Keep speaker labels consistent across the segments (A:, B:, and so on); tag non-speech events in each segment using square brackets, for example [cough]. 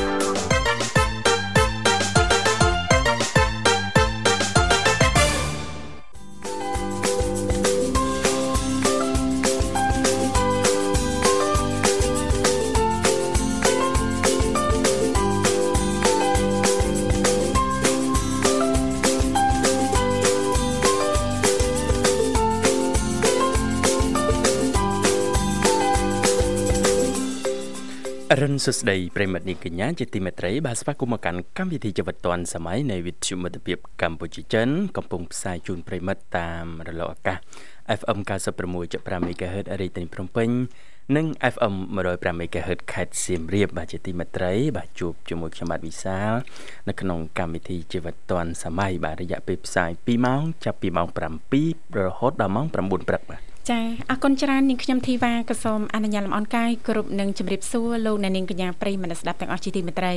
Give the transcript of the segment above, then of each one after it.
A: រិនសុស្ដីប្រិមត្តនេះកញ្ញាជាទីមេត្រីបាទស្វាគមន៍មកកាន់កម្មវិធីជីវិតឌွန်សម័យនៃវិទ្យុមិត្តភាពកម្ពុជាចិនកំពុងផ្សាយជូនប្រិមត្តតាមរលកអាកាស FM 96.5 MHz រាជធានីភ្នំពេញនិង FM 105 MHz ខេត្តសៀមរាបបាទជាទីមេត្រី បាទជួបជាមួយខ្ញុំបាទវិសាលនៅក្នុងកម្មវិធីជីវិតឌွန်សម័យបាទរយៈពេលផ្សាយ2ម៉ោងចាប់ពីម៉ោង7រហូតដល់ម៉ោង9ព្រឹកបាទ
B: ចាអរគុណច្រើននាងខ្ញុំធីវ៉ាក៏សូមអនុញ្ញាតលំអរកាយគ្រប់នឹងជម្រាបសួរលោកអ្នកនាងកញ្ញាប្រិយមនស្សស្ដាប់ទាំងអស់ជាទីមេត្រី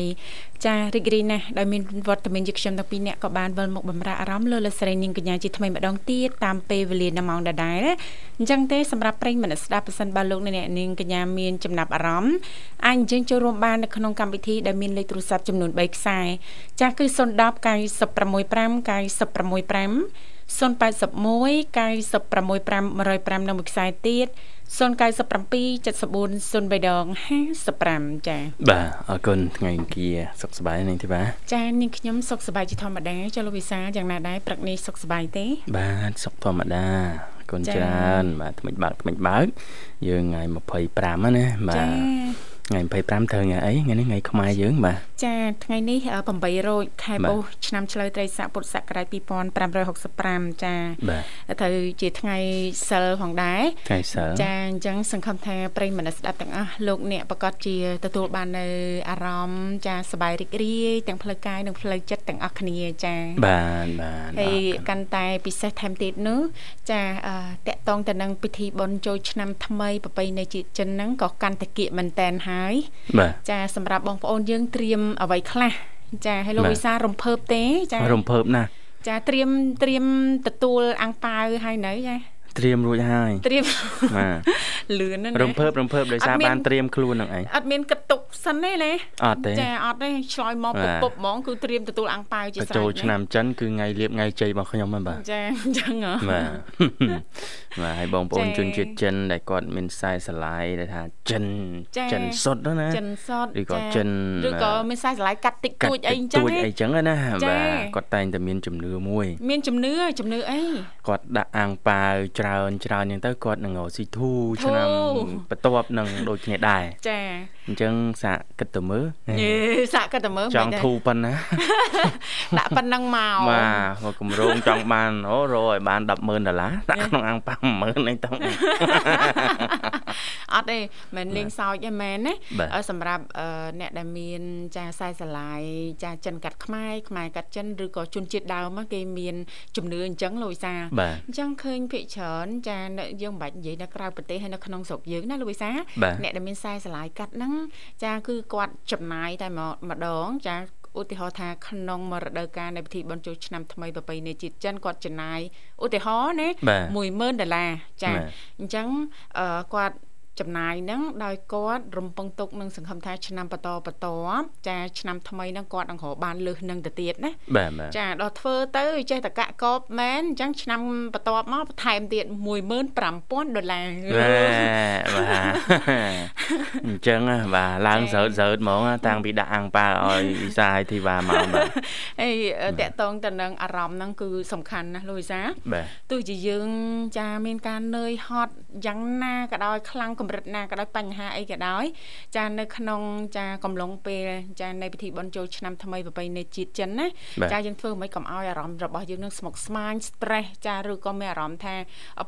B: ចារីករាយណាស់ដែលមានវត្តមានយើងខ្ញុំទាំងពីរនាក់ក៏បានវិលមកបំរើអារម្មណ៍លោកលោកស្រីនាងកញ្ញាជាថ្មីម្ដងទៀតតាមពេលវេលានិងម៉ោងដដែលណាអញ្ចឹងទេសម្រាប់ប្រិយមនស្សស្ដាប់ប៉ះសិនបើលោកអ្នកនាងកញ្ញាមានចំណាប់អារម្មណ៍អាចយើងចូលរួមបាននៅក្នុងកម្មវិធីដែលមានលេខទូរស័ព្ទចំនួន3ខ្សែចាគឺ010 965 965 081 965 និងមួយខ្សែទៀត097 74 0355ចា
A: បាទអរគុណថ្ងៃអង្គារសុខសប្បាយនាងធីបា
B: ៎ចានាងខ្ញុំសុខសប្បាយជាធម្មតាចុះលោកវិសាលយ៉ាងណាដែរព្រឹកនេះសុខសប្បាយទេ
A: បាទសុខធម្មតាអរគុណច្រើនបាទថ្មិចបើកថ្មិចបើកយើងថ្ងៃ25ហ្នឹងណាបាទ ថ្ងៃ25ត្រូវថ្ងៃអីថ្ងៃនេះថ្ងៃខ្មែរយើងបាទ
B: ចាថ្ងៃនេះ8រោចខែពូសឆ្នាំឆ្លូវត្រីស័កពុទ្ធសករាជ2565ចា
A: បាទ
B: ត្រូវជាថ្ងៃសិលផងដែរ
A: ថ្ងៃសិល
B: ចាអញ្ចឹងសង្ឃឹមថាប្រិយមនស្សស្ដាប់ទាំងអស់លោកអ្នកប្រកាសជាទទួលបាននៅអារម្មណ៍ចាសប្បាយរីករាយទាំងផ្លូវកាយនិងផ្លូវចិត្តទាំងអស់គ្នាចា
A: បាទបាទអរគុណ
B: ហើយកាន់តែពិសេសថែមទៀតនោះចាតកតងទៅនឹងពិធីបុណ្យចូលឆ្នាំថ្មីប្រពៃណីជាតិចិនហ្នឹងក៏កាន់តែគៀកមែនតែនហើយ
A: បាទ
B: ចាសម្រាប់បងប្អូនយើងត្រៀមអ្វីខ្លះចាហើយលោក
A: បាទ
B: វិសារំភើបទេចា
A: រំភើបណាស់
B: ចាត្រៀមត្រៀមទទួលអាំងប៉ាវហើយនៅចា
A: ត្រៀមរួចហើយ
B: ត្រៀម
A: បាទ
B: [laughs] លឿនណាស់
A: រំភើបរំភើបដោយសារ
B: អត់មាន
A: បានត្រៀមខ្លួនហ្នឹងឯង
B: អត់មានគិតទុកសិនទេណា
A: អត់ទេ
B: ចាអត់ទេឆ្លើយមក
A: បាទ
B: ពុបៗហ្មងគឺត្រៀមទទួលអាំងប៉ាវជា
A: ទៅ
B: ស្រេច
A: ចូល
B: ណា
A: ឆ្នាំចិនគឺថ្ងៃលៀបថ្ងៃជ័យរបស់ខ្ញុំហ្នឹងបាទ
B: ចាអញ្ចឹងហ៎
A: បាទ [laughs] បាទហើយបងប្អូនជន
B: ចា៎
A: ជាតិចិនដែលគាត់មានខ្សែស្រឡាយដែលថាចិន
B: ចា៎
A: ចិនសុទ្ធហ្នឹងណា
B: ចិនសត
A: ឬក៏
B: ចា
A: ចិន
B: ឬក៏មានខ្សែស្រឡាយកាត់តិចតួចអីអញ្ចឹង
A: ទួច
B: ណា
A: អីចឹងណា
B: ចា៎
A: បាទគាត់តែងតែមានជំនឿមួយ
B: មានជំនឿជំនឿអី
A: គាត់ដាក់អាំងប៉ាវច្រើនច្រើនចឹងទៅគាត់នឹងរកស៊ីធូ
B: ធូ
A: ឆ្នាំបន្ទាប់នឹងដូចគ្នាដែរ
B: ចា
A: អញ្ចឹងសាកគិតទៅមើល
B: យេសាក់ក៏តែមើល
A: ចង់
B: មិន
A: ធូរប៉ុណ្ណា
B: ដាក់ប៉ុណ្ណឹងមក
A: បាទមកគម្រោងចង់បាន [laughs] អូរកឲ្យបាន100,000ដុល្លារ
B: [laughs]
A: ដាក់ក្នុងអាំង [laughs] ប៉ា100,000ហ្នឹងទៅ
B: អត់ទេមិនលេងសើចទេមែនណា
A: បាទ
B: អឺសម្រាប់អឺអ្នកដែលមានចាខ្សែស្រឡាយចាចិនកាត់ខ្មែរខ្មែរកាត់ចិនឬក៏ជនជាតិដើមហ្នឹងគេមានជំនឿអញ្ចឹងលោកវិសា
A: បាទ
B: អញ្ចឹងឃើញភិកច្រើនចានៅយើងមិនបាច់និយាយនៅក្រៅប្រទេសហើយនៅក្នុងស្រុកយើងណាលោកវិសា
A: បាទ
B: អ្នកដែលមានខ្សែស្រឡាយកាត់ហ្នឹងចាគឺគាត់ចំណាយតែម្ម្ដងចាឧទាហរណ៍ថាក្នុងមួយរដូវកាលនៃពិធីបុណ្យចូលឆ្នាំថ្មីប្រពៃណីជាតិចិនគាត់ចំណាយឧទាហរណ៍ណា
A: បាទ
B: 10000ដុល្លារចា
A: បាទ
B: អញ្ចឹងអឺគាត់ចំណាយហ្នឹងដោយគាត់រំពឹងទុកនឹងសង្ឃឹមថាឆ្នាំបន្តបន្ទាប់ចាឆ្នាំថ្មីហ្នឹងគាត់នឹងរកបានលើសនឹងទៅទៀតណា
A: បាទបាទ [laughs]
B: ចាដល់ធ្វើទៅចេះតកកកបមែនអញ្ចឹងឆ្នាំបន្ទាប់មកបន្ថែមទៀត15000ដុល្លា
A: ណែ
B: រ
A: បាទអញ្ចឹងណាបាទឡើងស្រើតស្រើតហ្មងណាតាំងពីដាក់អាំងប៉ាឲ្យវិសាឲ្យធីវ៉ាមក [laughs] បាទ
B: ហើយតកតងទៅនឹងអារម្មណ៍ហ្នឹងគឺសំខាន់ណាស់លោកវិសា
A: បាទ
B: ទោះជាយើងចាមានការនឿយហត់យ៉ាងណាក៏ដោយខ្លាំងកម្រិតណាក៏ដោយបញ្ហាអីក៏ដោយចានៅក្នុងចាកំឡុងពេលចានៃពិធីបុណ្យចូលឆ្នាំថ្មីប្រពៃណីជាតិចិនណា
A: បាទ
B: ចាយើងធ្វើមិនកំឲ្យអារម្មណ៍របស់យើងនឹងស្មុគស្មាញ stress ចាឬក៏មានអារម្មណ៍ថា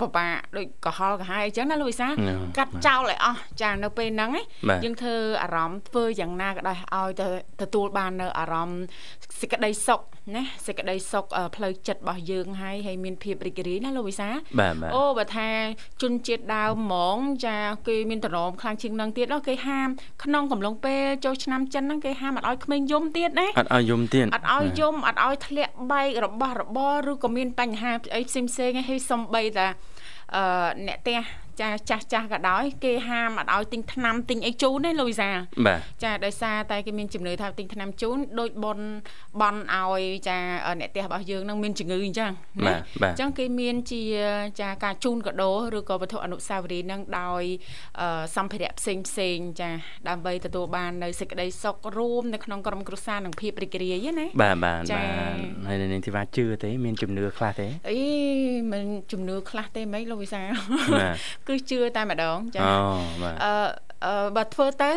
B: ពិបាកដូចកុហល់កាហាយអញ្ចឹងណាលោកវិសា
A: No.
B: កាត់ចោលឲ្យអស់ចានៅពេលហ្នឹងឯង
A: បាទ
B: យើងធ្វើអារម្មណ៍ធ្វើយ៉ាងណាក៏ដោយឲ្យទៅទទួលបាននៅអារម្មណ៍សេចក្តីសុខណាសេចក្តីសុខអឺផ្លូវចិត្តរបស់យើងហើយហើយមានភាពរីករាយណាលោកវិសា
A: បាទបាទ
B: អូបើថាជនជាតិដើមហ្មងចាគេមានតម្រមខ្លាំងជាងហ្នឹងទៀតអូគេហាមក្នុងកំឡុងពេលចូលឆ្នាំចិនហ្នឹងគេហាមអត់ឲ្យក្មេងយំទៀតណា
A: អត់ឲ្យយំទៀត
B: អត់ឲ្យយំអត់ឲ្យធ្លាក់បែករបស់របរឬក៏មានបញ្ហាអីផ្សេងផ្សេងៗឯងហើយសំបីតាអឺអ្នកផ្ទះ ចាចាស់ចាស់ក៏ដោយគេហាមអត់ឲ្យទិញថ្នាំទិញអីជូនណាលូយសា
A: បាទ
B: ចាដោយសារតែគេមានជំនឿថាទិញថ្នាំជូនដូចបនបនឲ្យចាអ្នកផ្ទះរបស់យើងនឹងមានជំងឺអញ្ចឹង
A: បា
B: ណា
A: ទបាទ
B: អញ្ចឹងគេមានជាចាការជូនកាដូឬក៏វត្ថុអនុស្សាវរីយ៍នឹងដោយអឺសម្ភារៈផ្សេងផ្សេងចាដើម្បីទទួលបាននៅសេចក្តីសុខរួមនៅក្នុងក្រុមគ្រួសារនិងភាពរីករាយណា
A: បាទបាទ
B: ចា៎
A: បាទហើយនៅនាងធីវ៉ាជឿទេមានជំនឿខ្លះទេ
B: អីមិនជំនឿខ្លះទេមិនលោកវិសា
A: [laughs]
B: ល
A: បាទ
B: [laughs] គឺជឿតែម្ដងចា
A: អូបាទ
B: អឺអឺបើធ្វើទៅ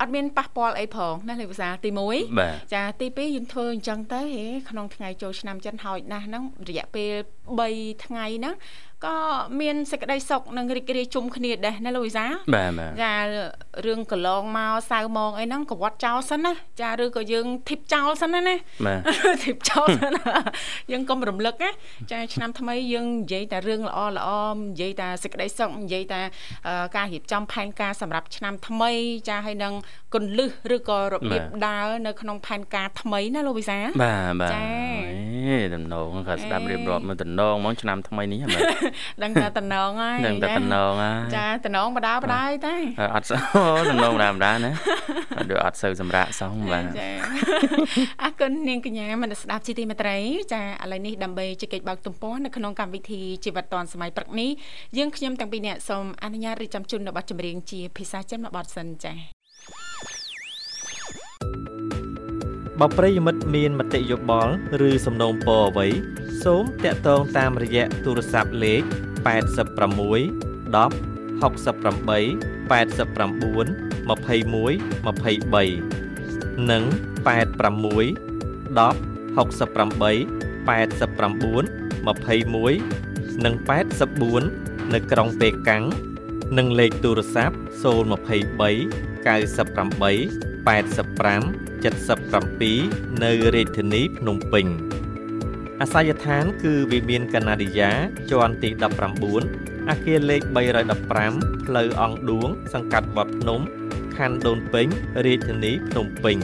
B: អត់មានប៉ះពាល់អីផងណាលោកវិសាលទី1
A: បាទ
B: ចាទី2យើងធ្វើអញ្ចឹងទៅហេក្នុងថ្ងៃចូលឆ្នាំចិនហើយណាស់ហ្នឹងរយៈពេល3ថ្ងៃហ្នឹងក៏មានសេចក្តីសុខនិងរីករាយជុំគ្នាដែរណាលោកវិសាល
A: បាទបាទ
B: ចារឿងកន្លងមកសៅមកអីហ្នឹងកវត្តចោលសិនណាចាឬក៏យើងធីបចោលសិនណាណា
A: បាទ
B: [laughs] ធីបចោលសិនណាយើងកុំរំលឹកណាចាឆ្នាំថ្មីយើងនិយាយតែរឿងល្អល្អនិយាយតែសេចក្តីសុខនិយាយតែអឺការរៀបចំផែនការសម្រាប់ឆ្នាំថ្មី ចាហើយនឹងគន្លឹះឬក៏របៀប
A: បាទ
B: ដើរនៅក្នុងផែនការថ្មីណាលោកវិសា
A: បាទបាទ
B: ចា៎
A: អេតំណងក៏ស្ដាប់
B: អេ
A: រៀបរាប់មកតំណងហ្មកឆ្នាំថ្មីនេះហ្មង
B: ដឹងតែតំណងហើយ
A: នឹងតែតំណងហ
B: ចាចាតំណងបដាបដាយ
A: ើ
B: តែ
A: យអត់សូវតំណងធម្មតាណាអត់ដូចអត់សូវសម្រាកសោះបាទ
B: ចា អរគុណនាងកញ្ញាមនស្សស្ដាប់ជីទីមេត្រីចាឥឡូវនេះដើម្បីជែកបើកទំព័រនៅក្នុងកម្មវិធីជីវិតឌွန်សម័យព្រឹកនេះយើងខ្ញុំទាំងពីរអ្នកសូមអនុញ្ញាតរៀបចំជូននៅបទចម្រៀងជាភាសាចិនមួយបទសិនចា
C: បើប្រិយមិត្តមានមតិយោបល់ឬសំណូមពរអ្វី សូមតាក់ទងតាមរយៈទូរស័ព្ទលេខ86 10 68 89 21 23និង86 10 68 89 21និង84នៅក្រុងប៉េកាំងនិងលេខទូរស័ព្ទ023 98 85 77នៅរាជធានីភ្នំពេញអាសយដ្ឋានគឺវិមានកាណាឌីយ៉ាជាន់ទី19អគារលេខ315ផ្លូវអង្គឌួង សង្កាត់វត្តភ្នំខណ្ឌដូនពេញរាជធានីភ្នំពេញ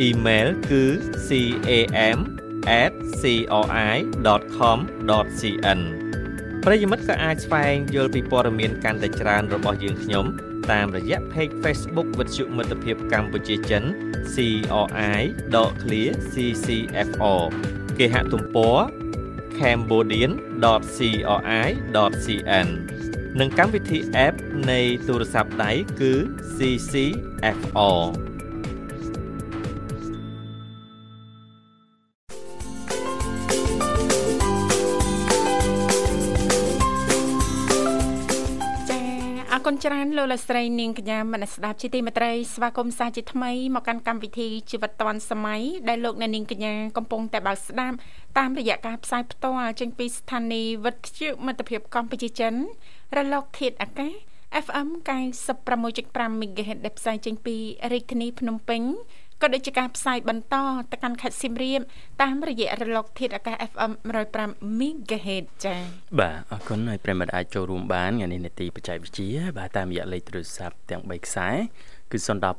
C: អ៊ីមែលគឺ cam@cri.com.cn ប្រិយមិត្តក៏អាចស្វែងយល់ពីព័ត៌មានកាន់តែច្រើនរបស់យើងខ្ញុំតាមរយៈ page Facebook វិទ្យុមិត្តភាពកម្ពុជាចិន CRI ដកឃ្លា CCFO គេហទំព័រ cambodian.cri.cn និងកម្មវិធី app នៃទូរស័ព្ទដៃគឺ CCFO
B: ចាអរគុណច្រើនលោកលកស្រីនាងកញ្ញាមនស្សស្ដាប់ជីទីមេត្រីស្វាគមន៍សាជាថ្មីមកកាន់កម្មវិធីជីវិតឌွန်សម័យដែលលោកអ្នកនាងកញ្ញាកំពុងតែបើកស្ដាប់តាមរយៈការផ្សាយផ្ទាល់ចេញពីស្ថានីយ៍វិទ្យុមិត្តភាពកម្ពុជាចិន រលកធាតុអាកាស FM 96.5 MHz ដែលផ្សាយចេញពីរាជធានីភ្នំពេញក៏ដូចជាការផ្សាយបន្តទៅកាន់ខេត្តសៀមរាបតាមរយៈរលកធាតុអាកាស FM 105 MHz ចា៎
A: បាទអរគុណហើយប្រិយមិត្តអាចចូលរួមបានថ្ងៃនេះនេតិបច្ចេកវិទ្យាបាទតាមរយៈលេខទូរស័ព្ទទាំង3ខ្សែគឺ010 965 965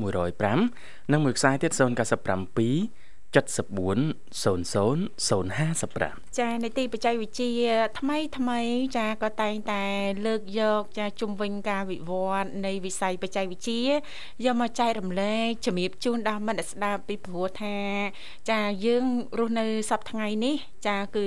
A: 081 965 105និងមួយខ្សែទៀត097 74 00 055
B: ចានីតិបច្ចេកវិទ្យាថ្មីថ្មីចាក៏តែងតែលើកយកចាជំវិញការវិវត្តនៃវិស័យបច្ចេកវិទ្យាយកមកចែករំលែកជំរាបជូនដល់មិត្តអ្នកស្ដាប់ពីព្រោះថា ចាយើងរស់នៅសប្តាហ៍ថ្ងៃនេះ ចាគឺ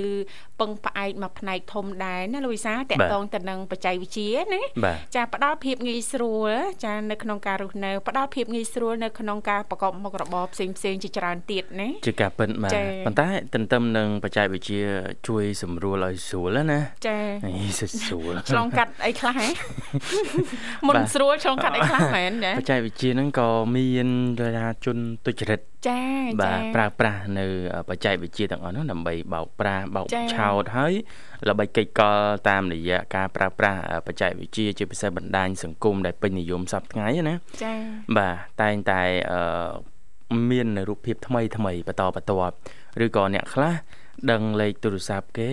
B: ពឹងផ្អែកមកផ្នែកធំដែរណាលោកវិសាលតក
A: បាទ
B: តងទៅនឹងបច្ចេកវិទ្យាណា
A: បាទ
B: ចាផ្ដល់ភាពងាយស្រួលចានៅក្នុងការរស់នៅផ្ដល់ភាពងាយស្រួលនៅក្នុងការប្រកបមុខរបរផ្សេងផ្សេងៗជាច្រើនទៀតណា
A: ជាការពិតបាទ
B: ចា៎
A: ប៉ុន្តែទន្ទឹមនឹងបច្ចេកវិទ្យាជួយសម្រួលឲ្យស្រួលណា
B: ចា
A: អីសុស្រួល
B: ឆ្លងកាត់អី
A: [laughs]
B: ខ្លះហ៎ មុន
A: បាទ
B: ស្រួលឆ្លងកាត់អីខ្លះមែនណា
A: បច្ចេកវិទ្យាហ្នឹងក៏មានប្រជាជនទុច្ចរិត
B: ចា
A: បា
B: ចា
A: ទប្រើប្រាស់នៅបច្ចេកវិទ្យាទាំងអស់នោះដើម្បីបោកប្រាស់បោក
B: ចា៎
A: ឆោតហើយល្បិចកិច្ចកលតាមរយៈការប្រើប្រាស់បច្ចេកវិទ្យាជាពិសេសបណ្ដាញសង្គមដែលពេញនិយមសពវថ្ងៃណា
B: ចា
A: បាទតែងតែអឺមាននៅរូបភាពថ្មីថ្មីបន្តបន្ទាប់ឬក៏អ្នកខ្លះដឹងលេខទូរស័ព្ទគេ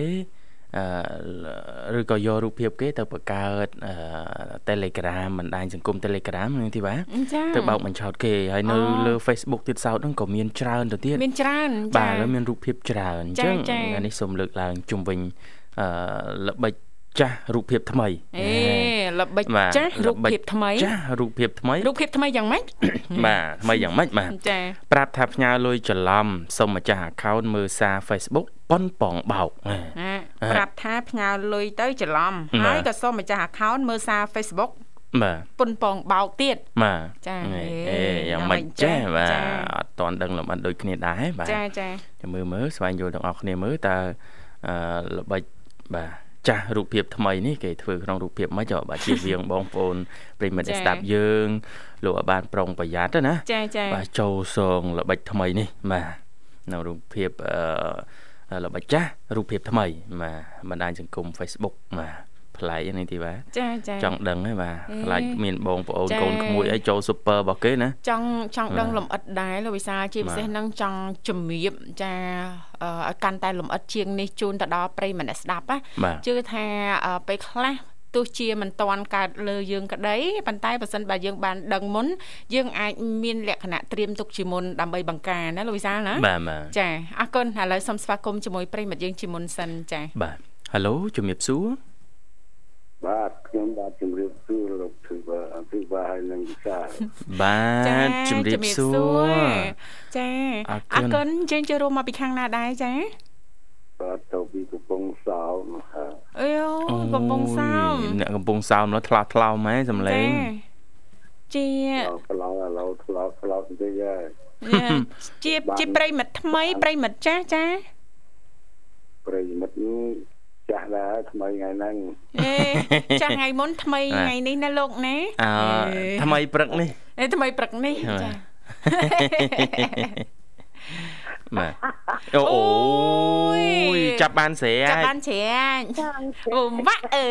A: អឺឬក៏យករូបភាពគេទៅបង្កើតអឺ Telegram បណ្ដាញសង្គម Telegram នឹងទីបាទ
B: ចា
A: ទៅបោកបញ្ឆោតគេហើយនៅ
B: អូ
A: លើ Facebook ទៀតសោតហ្នឹងក៏មានច្រើនទៅទៀត
B: មានច្រើន
A: បា
B: ចា
A: ទឥឡូវមានរូបភាពច្រើនអ
B: ចា
A: ញ្ចឹង
B: ចា
A: ថ្ងៃនេះសូមលើកឡើងជុំវិញអឺល្បិចចាស់រូបភាពថ្មី
B: អេល្បិច
A: បាទ
B: ចាស់រូប
A: ល្បិច
B: ភាពថ្មី
A: ចាស់រូបភាពថ្មី
B: រូបភាពថ្មីយ៉ាងម៉េច
A: បាទថ្មីយ៉ាងម៉េច
B: [laughs]
A: បាទ
B: ចា
A: ប្រាប់ថាផ្ញើលុយច្រឡំសូមម្ចាស់ account មើលសារ Facebook ប៉ុនប៉ងបោកណា
B: ណា
A: អ่ะ
B: ប្រាប់ថាផ្ញើលុយទៅច្រឡំ
A: បាទ
B: ហើយក៏សូមម្ចាស់ account មើលសារ Facebook
A: បាទ
B: ពុនប៉ងបោកទៀត
A: បាទ
B: ចា
A: ហេ
B: ហេ
A: អេយ៉ាងម៉េច
B: យ៉ាងម៉េ
A: ចេះបាទ
B: ចចាចា
A: អត់តន់ដឹងលម្អិតដូចគ្នាដែរបាទ
B: ចាចា
A: ចាំមើលមើលស្វែងយល់ទាំងអស់គ្នាមើលតើអឺល្បិចបាទចាស់រូបភាពថ្មីនេះគេធ្វើក្នុងរូបភាពមិនចុះបាទជាវៀង បងប្អូនប្រិយមិត្តអ្នកស្ដាប់យើងលោកឲ្យបានប្រុងប្រយ័ត្នទៅណា
B: ចាចា
A: បាទចូលសងល្បិចថ្មីនេះបាទនៅរូបភាពអឺល្បិចចាស់រូបភាពថ្មីបាទបណ្ដាញសង្គម Facebook បាទប្លែកហ្នឹងទីបាទ
B: ចាចា
A: ចង់ដឹងហ្នឹងបាទ
B: អេ
A: ខ្លាចមានបងប្អូន
B: ចា៎
A: កូនក្មួយអីចូល super របស់គេណា
B: ចង់ចង់ដឹងលំអិតដែរលោកវិសាលជា
A: បាទ
B: ពិសេសហ្នឹងចង់ជំរាបចាអឺឲ្យកាន់តែលំអិតជាងនេះជូនទៅដល់ប្រិយមនស្សស្ដាប់ណា
A: បាទ
B: ជឿថាអឺពេលខ្លះទោះជាមិនតាន់កើតលើយើងក្តីប៉ុន្តែបើសិនបើយើងបានដឹងមុនយើងអាចមានលក្ខណៈត្រៀមទុកជាមុនដើម្បីបង្ការណាលោកវិសាលណា
A: បាទបាទ
B: ចាអរគុណឥឡូវសូមស្វាគមន៍ជាមួយប្រិយមិត្តយើងជាមុនសិនចា
A: បាទ Halo ជំរាបសួរ
D: បាទខ្ញុំបាទជំរាបសួរលោកធឺបាអភិបាលហើយនឹងវិសាល
A: បាទជំរាបសួរ
B: ចា
A: អរគុណ
B: អរគុណយើងជួយរួមមកពីខាងណាដែរចា
D: បាទទៅពីកំពង់សោមហើយ
B: អីយកំពុងសោម
A: អូយអ្នកកំពុងសោមឡើយថ្លោះថ្លោមហ៎សំឡេង
B: ជា
D: ដល់ប្រឡងឥឡូវឆ្លោតឆ្លោតបន្តិចហើយ
B: ជាជាប្រិមិត្តថ្មីប្រិមិត្តចាស់ចា
D: ប្រិយមិត្តនេះចាស់ដែរថ្មីថ្ងៃហ្នឹង
B: អេចាស់ថ្ងៃមុនថ្មី
A: បាទ
B: ថ្ងៃនេះណាលោកណា
A: អឺថ្មីព្រឹកនេះ
B: អេថ្មីព្រឹកនេះ [laughs]
A: បាទបាទ
B: ចា
A: អូអូយចាប់បានស្រែ [laughs]
B: ចាប់
A: ក
B: បានច្រាញអូវ៉ាក់អើ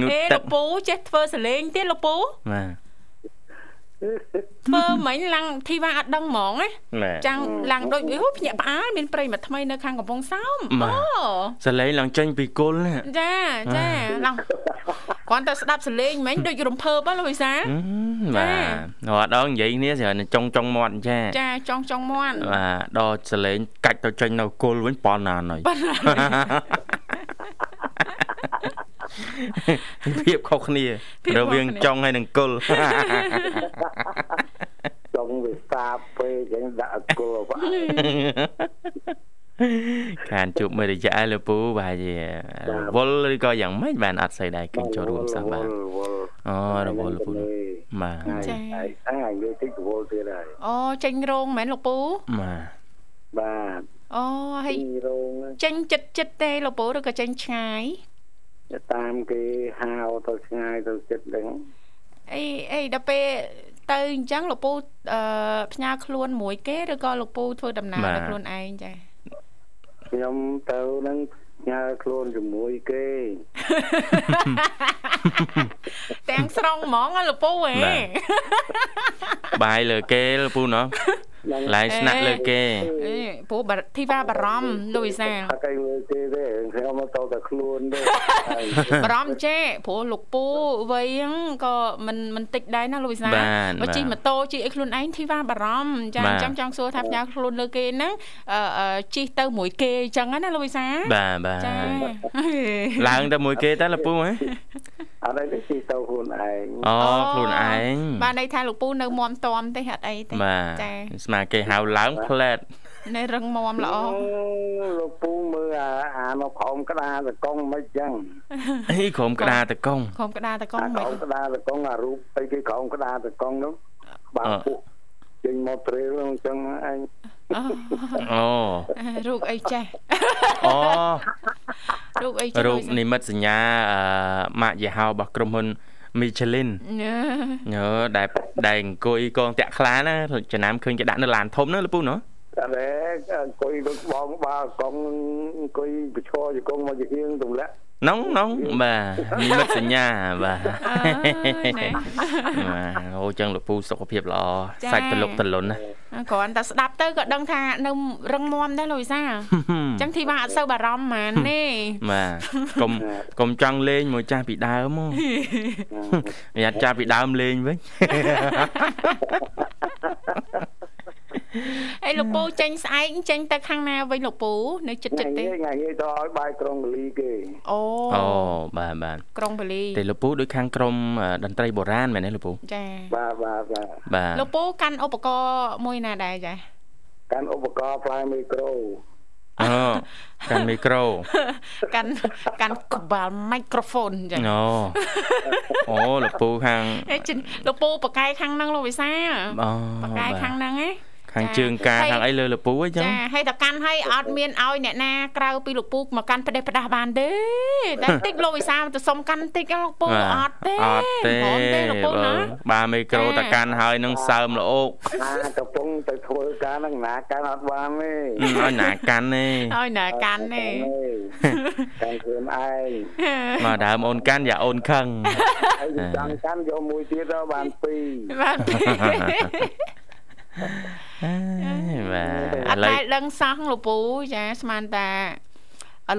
A: ងូត
B: អេ
A: ទឹក
B: លកពូចេះធ្វើសលេងទៀតលកពូ
A: បាទ
B: ធ្វើមិញឡើងធីវ៉ាអត់ដឹងហ្មងណា
A: បាទ
B: ចាំងឡើងដូចអូភ្ញាក់ផ្អើលមានប្រិមិត្តថ្មីនៅខាងកំពង់សោមអូ
A: សំឡេងឡើងចេញពីគល់ណា
B: ចាចាឡងគ្រាន់តែស្ដាប់សលេងមិញដូចរំភើបហ៎លោកវិសាល
A: អឺ
B: ចា៎
A: បាទរត់ដល់និយាយគ្នាស្រាប់តែចង់ចង់មាត់អញ្ចា
B: ចាចង់ចង់មាន់
A: បាទដល់សលេងកាច់ទៅចេញនៅគល់វិញប៉ុណ្ណាណយ
B: ប៉ណ្ណា
A: ភាពខុសគ្នារវាងចង់ហើយនឹងគល់
D: ចង់វាសាបពេកចឹងដាក់អ [laughs] គលបា
A: ខានជួបមួយរយៈលើពូបាទជាវល់ឬក៏យ៉ាងម៉េចបានអត់ស្អីដែរគេ
D: ទ
A: ចូលរួមសោះបាទ
D: វ
A: អូរ
D: ល់
A: វល់ពូបាទ
D: បាទថ្ងៃថ្ងៃនិយាយតិចវល់ទៀតហើយ
B: អូចេញរោងមែនលោកពូ
A: បាទ
D: បាទ
B: អូហើយ
D: ពីរោងហ្នឹង
B: ចេញចិត្តចិត្តទេលោកពូឬក៏ចេញឆ្ងាយ
D: តាមគេហៅទៅឆ្ងាយទៅចិត្តហ្នឹង
B: អីអីដល់ពេលទៅអញ្ចឹងលោកពូអឺផ្ញើខ្លួនមួយគេឬក៏លោកពូធ្វើដំណើរដោយខ្លួនឯងចា
D: ខ្ញុំទៅហ្នឹងផ្ញើខ្លួនជាមួយគេ
B: ទាំងស្រុងហ្មងហ៎លោកពូហ៎
A: បាយលើគេលើពូណោះឡើងស្នាក់លើគេ
B: អេពូបារធីវ៉ាបារម្ភលោកវិសាល
D: អត់គេមើលទេទេខ្ញុំមកតតែខ្លួនទេហើយ
B: បារម្ភចេះព្រោះលោកពូវ័យហ្នឹងក៏មិនមិនតិចដែរណាលោកវិសាល
A: បាទ
B: បើជិះ
A: បាទ
B: ម៉ូតូជិះអីខ្លួនឯងធីវ៉ាបារម្ភចា
A: បាទ
B: អញ្ចឹងចង់សួរថាផ្ញើខ្លួនលើគេហ្នឹងអឺអឺជិះទៅមួយគេអញ្ចឹងណាលោកវិសាល
A: បាទបា
B: ចា
A: ទ ឡើងទៅមួយគេតើលកពូហ៎
D: អត់ឯងទីទៅខ្លួនឯង
A: អូខ្លួនឯង
B: បាទន័យថាលោកពូនៅមាំតមទេអត់អីទេ
A: បាទ
B: ចា
A: ស្មាគេហៅឡើងផ្លែត
B: [laughs] នៅរឹងមាំល្អ
D: លោកពូមើលអាអាមកក្រោមក្តារតកង់មិនចឹង
A: អីក្រុមក្តារតកង់
B: ក្រុមក្តារតកង
D: អាក្រោ
A: [laughs]
B: មិន
D: មក្តារតកង់អារូបអីគេក្រោមក្តារតកង់នោះបាទពួកចេញមកត្រេលចឹងឯង
B: អូ
A: អូ
B: រូបអីចេះ [laughs]
A: អូ
B: រូបអីចេះ
A: រូបនិមិត្តសញ្ញាអឺម៉ាកយីហោរបស់ក្រុមហ៊ុន Michelin
B: អឺ
A: ញើដែលដែលអង្គុយកងតាក់ខ្លាណាចំណាំឃើញគេដាក់នៅឡានធំហ្នឹងលកពូណោះ
D: តែអង្គុយដូចបងបាកង់អង្គុយប្រឈរជង្គង់មកជាហៀងទម្លាក់
A: នងនងបាទនិមិត្តសញ្ញាបាទ
B: អើយណា
A: [laughs] បាទអូចឹងលោកពូសុខភាពល្អ
B: ចា៎
A: សាច់តលុកតលុនណា [laughs]
B: គ្រាន់តែស្ដាប់ទៅក៏ដឹងថានៅរឹងមាំដែរលោកវិសា
A: [laughs]
B: លអញ្ចឹងធីវ៉ាអត់សូវបារម្ភហ្មងទេ
A: បាទកុំកុំចង់លេងមួយចាស់ពីដើមហ៎ញ៉ាត់ចាស់ពីដើមលេង [laughs] វិញ
B: ហើយលោកពូចេញស្អែកចេញទៅខាងណាវិញលោកពូនៅចិត្តចិត្តទេ
D: ថ្ងៃថ្ងៃនេះទៅឲ្យបាយក្រុងលីគេ
B: អូ
A: អូបាទបាទ
B: ក្រុងបលី
A: តែលោកពូដូចខាងក្រុមអឺតន្ត្រីបុរាណមែនទេលោកពូ
B: ចា
D: បាទបាទបាទ
A: បាទ
B: លោកពូកាន់ឧបករណ៍មួយណាដែរចា
D: កាន់ឧបករណ៍ផ្លែមីក្រូ
A: អូកាន់មីក្រូ
B: [laughs] កាន់កាន់ក្បាលមីក្រូហ្វូនចា [laughs]
A: អូអូលោកពូខាង
B: អេជិនលោកពូប៉ាកែខាងហ្នឹងលោកវិសាល
A: អូ
B: ប៉ាកែខាងហ្នឹងហ៎
A: ខាងជើងកា
B: ហើយ
A: ខាងអីលើលោកពូអីចឹង
B: ចាហើយតកាន់ហើយអត់មានឲ្យអ្នកណាក្រៅពីលោកពូមកកាន់ផ្ដេសផ្ដាស់បានទេតែតិចលោកវិសាលទៅសុំកាន់តិចណាលោកពូ
A: បាទ
B: អត់ទេ
A: អត់ទេ
B: ព្រមទេលោកពូណា
A: បាទមីក្រូ
B: ចា៎
A: តកាន់ហើយនឹងសើមលោក
D: ណាកំពុងទៅធ្វើការហ្នឹងណាកាន់អត់បានទេ
A: អឺឲ្យណាកាន់ [laughs] ទេ
B: ឲ្យណាកាន់ទេ
D: កាន់ខ្លួនឯង
A: មកដើមអូនកាន់យ៉ាអូនខឹង
D: ហើយចង់កាន់យកមួយទៀតទៅបានពីរ
B: បាទ
A: អេបាទ
B: អ
A: ឥ
B: ត់
A: ឡូវ
B: តែដឹងសោះលោកពូចាស្មានតា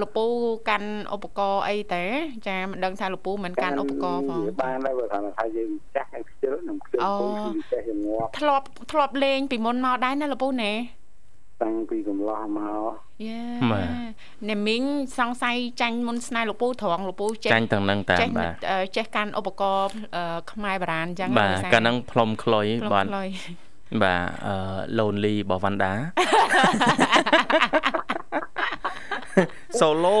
B: លោកពូកាន់ឧបករណ៍អីតើចាមិនដឹងថាលោកពូមិនកាន់ឧបករណ៍ផង
D: បានដែរបើថាថាយើងចាស់ហើយខ្ជិលនឹងខ្ជិល
B: អូ
D: ពុំគឺចេះយើងងាប់
B: ធ្លាប់ធ្លាប់លេងពីមុនមកដែរណាលោកពូណែ
D: តាំងពីកំឡោះមក
B: យេអ្នកមីងសង្ស័យចាញ់មុនស្នែលោកពូត្រង់លោកពូចេះ
A: ចាញ់ទាំងនឹងតាម
B: ចេះ
A: បាទ
B: អឺចេះកាន់ឧបករណ៍អឺខ្មែរបារាណអញ្ចឹង
A: បាទកាលហ្នឹងផ្លុំខ្លុយ
B: បា
A: បាទ ទ
B: [laughs]
A: បាទអឺ Lonely របស់វ៉ាន់ដា Solo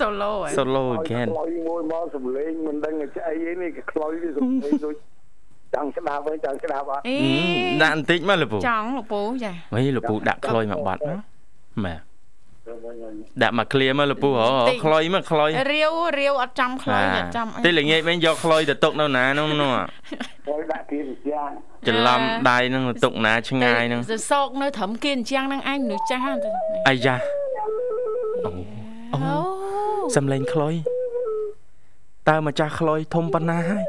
B: សូឡូហ៎
A: Solo
D: ឲ្យ
A: again
D: ខ្លុយមួយមកសំលេងមិនដឹងថាអីទេនេះគេខ្លុយវាសំលេងដូចចង់ស្ដាប់ហើយចង់ស្ដាប់អត់
B: អេ
A: ហ៊ឹមដាក់បន្តិចមកលោកពូ
B: ចង់លោកពូចា
A: ហីលោកពូដាក់ខ្លុយមកបាត់មកបាទដាក់មកឃ្លៀមកលោកពូអូខ្លុយមកខ្លុយ
B: រាវរាវអត់ចំខ្លោយអត់ចំអី
A: តែល្ងាចវិញយកខ្លុយទៅទុកនៅណានោះនោះ
D: ខ្លុយដាក់ទៀតជាង
A: ច្រឡំដៃហ្នឹងទុកណាឆ្ងាយហ្នឹង
B: ទៅសោកនៅត្រឹមគេអញ្ចឹងហ្នឹងឯងមនុស្សចាស់ហ្នឹង
A: អាយ៉ា
B: អូ
A: សំឡេងខ្លុយតើម្ចាស់ខ្លុយធំប៉ុណ្ណាហើយ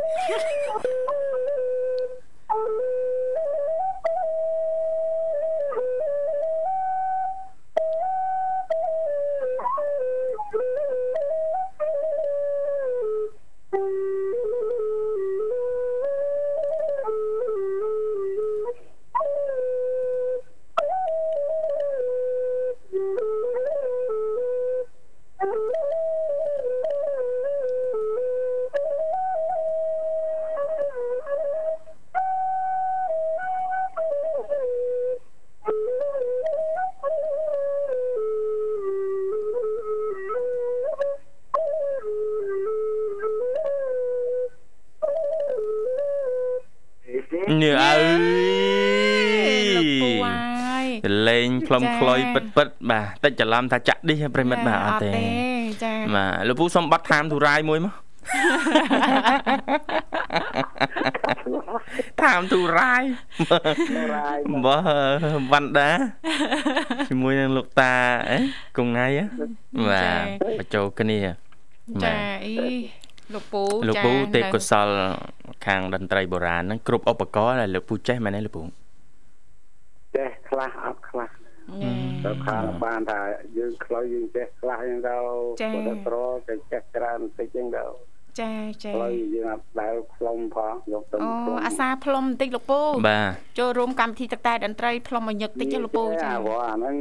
A: នេះអើយ
B: លោកពូហើយ
A: ចលេងផ្លុំខ្លុយពិតពិតៗបាទតិចច្រឡំថាចាក់ឌីសប្រិមិត្តបាទអត់ទេ
B: ចា
A: បាទលោកពូសុំបាត់តាមទូរាយមួយមក [laughs] តាមទូរាយ
D: រាយ
A: បើវ៉ាន់ដាជាមួយនឹងលោកតាអេគង់ណៃហ៎បាទបញ្ចូលគ្នា
B: ចា
A: បាទ
B: អីលោកពូ
A: លោក
B: ចា
A: ពូទេព
B: នៅ
A: កុសលខាងតន្ត្រីបុរាណហ្នឹងគ្រប់ឧបករណ៍ដែលលោកពូចេះមែនទេលោកពូ
D: ចេះខ្លះអត់ខ្លះ
B: ចា
D: ទៅខាងបានថាយើងខ្លុយយើងចេះខ្លះហ្នឹងទៅ
B: ចា
D: បើទៅត្រទៅចេះច្រើនបន្តិចហ្នឹងទៅ
B: ចាចា
D: ខ្លុយយើងអត់ដែលខ្លុំផងយកទៅ
B: អូ
D: ខ្លុំ
B: អាសាផ្លុំបន្តិចលោកពូ
A: បាទ
B: ចូលរួមកម្មវិធីទឹកតែតន្ត្រីផ្លុំឲ្យញឹកតិចណាលោកពូចា
D: អាវ៉ាហ្នឹង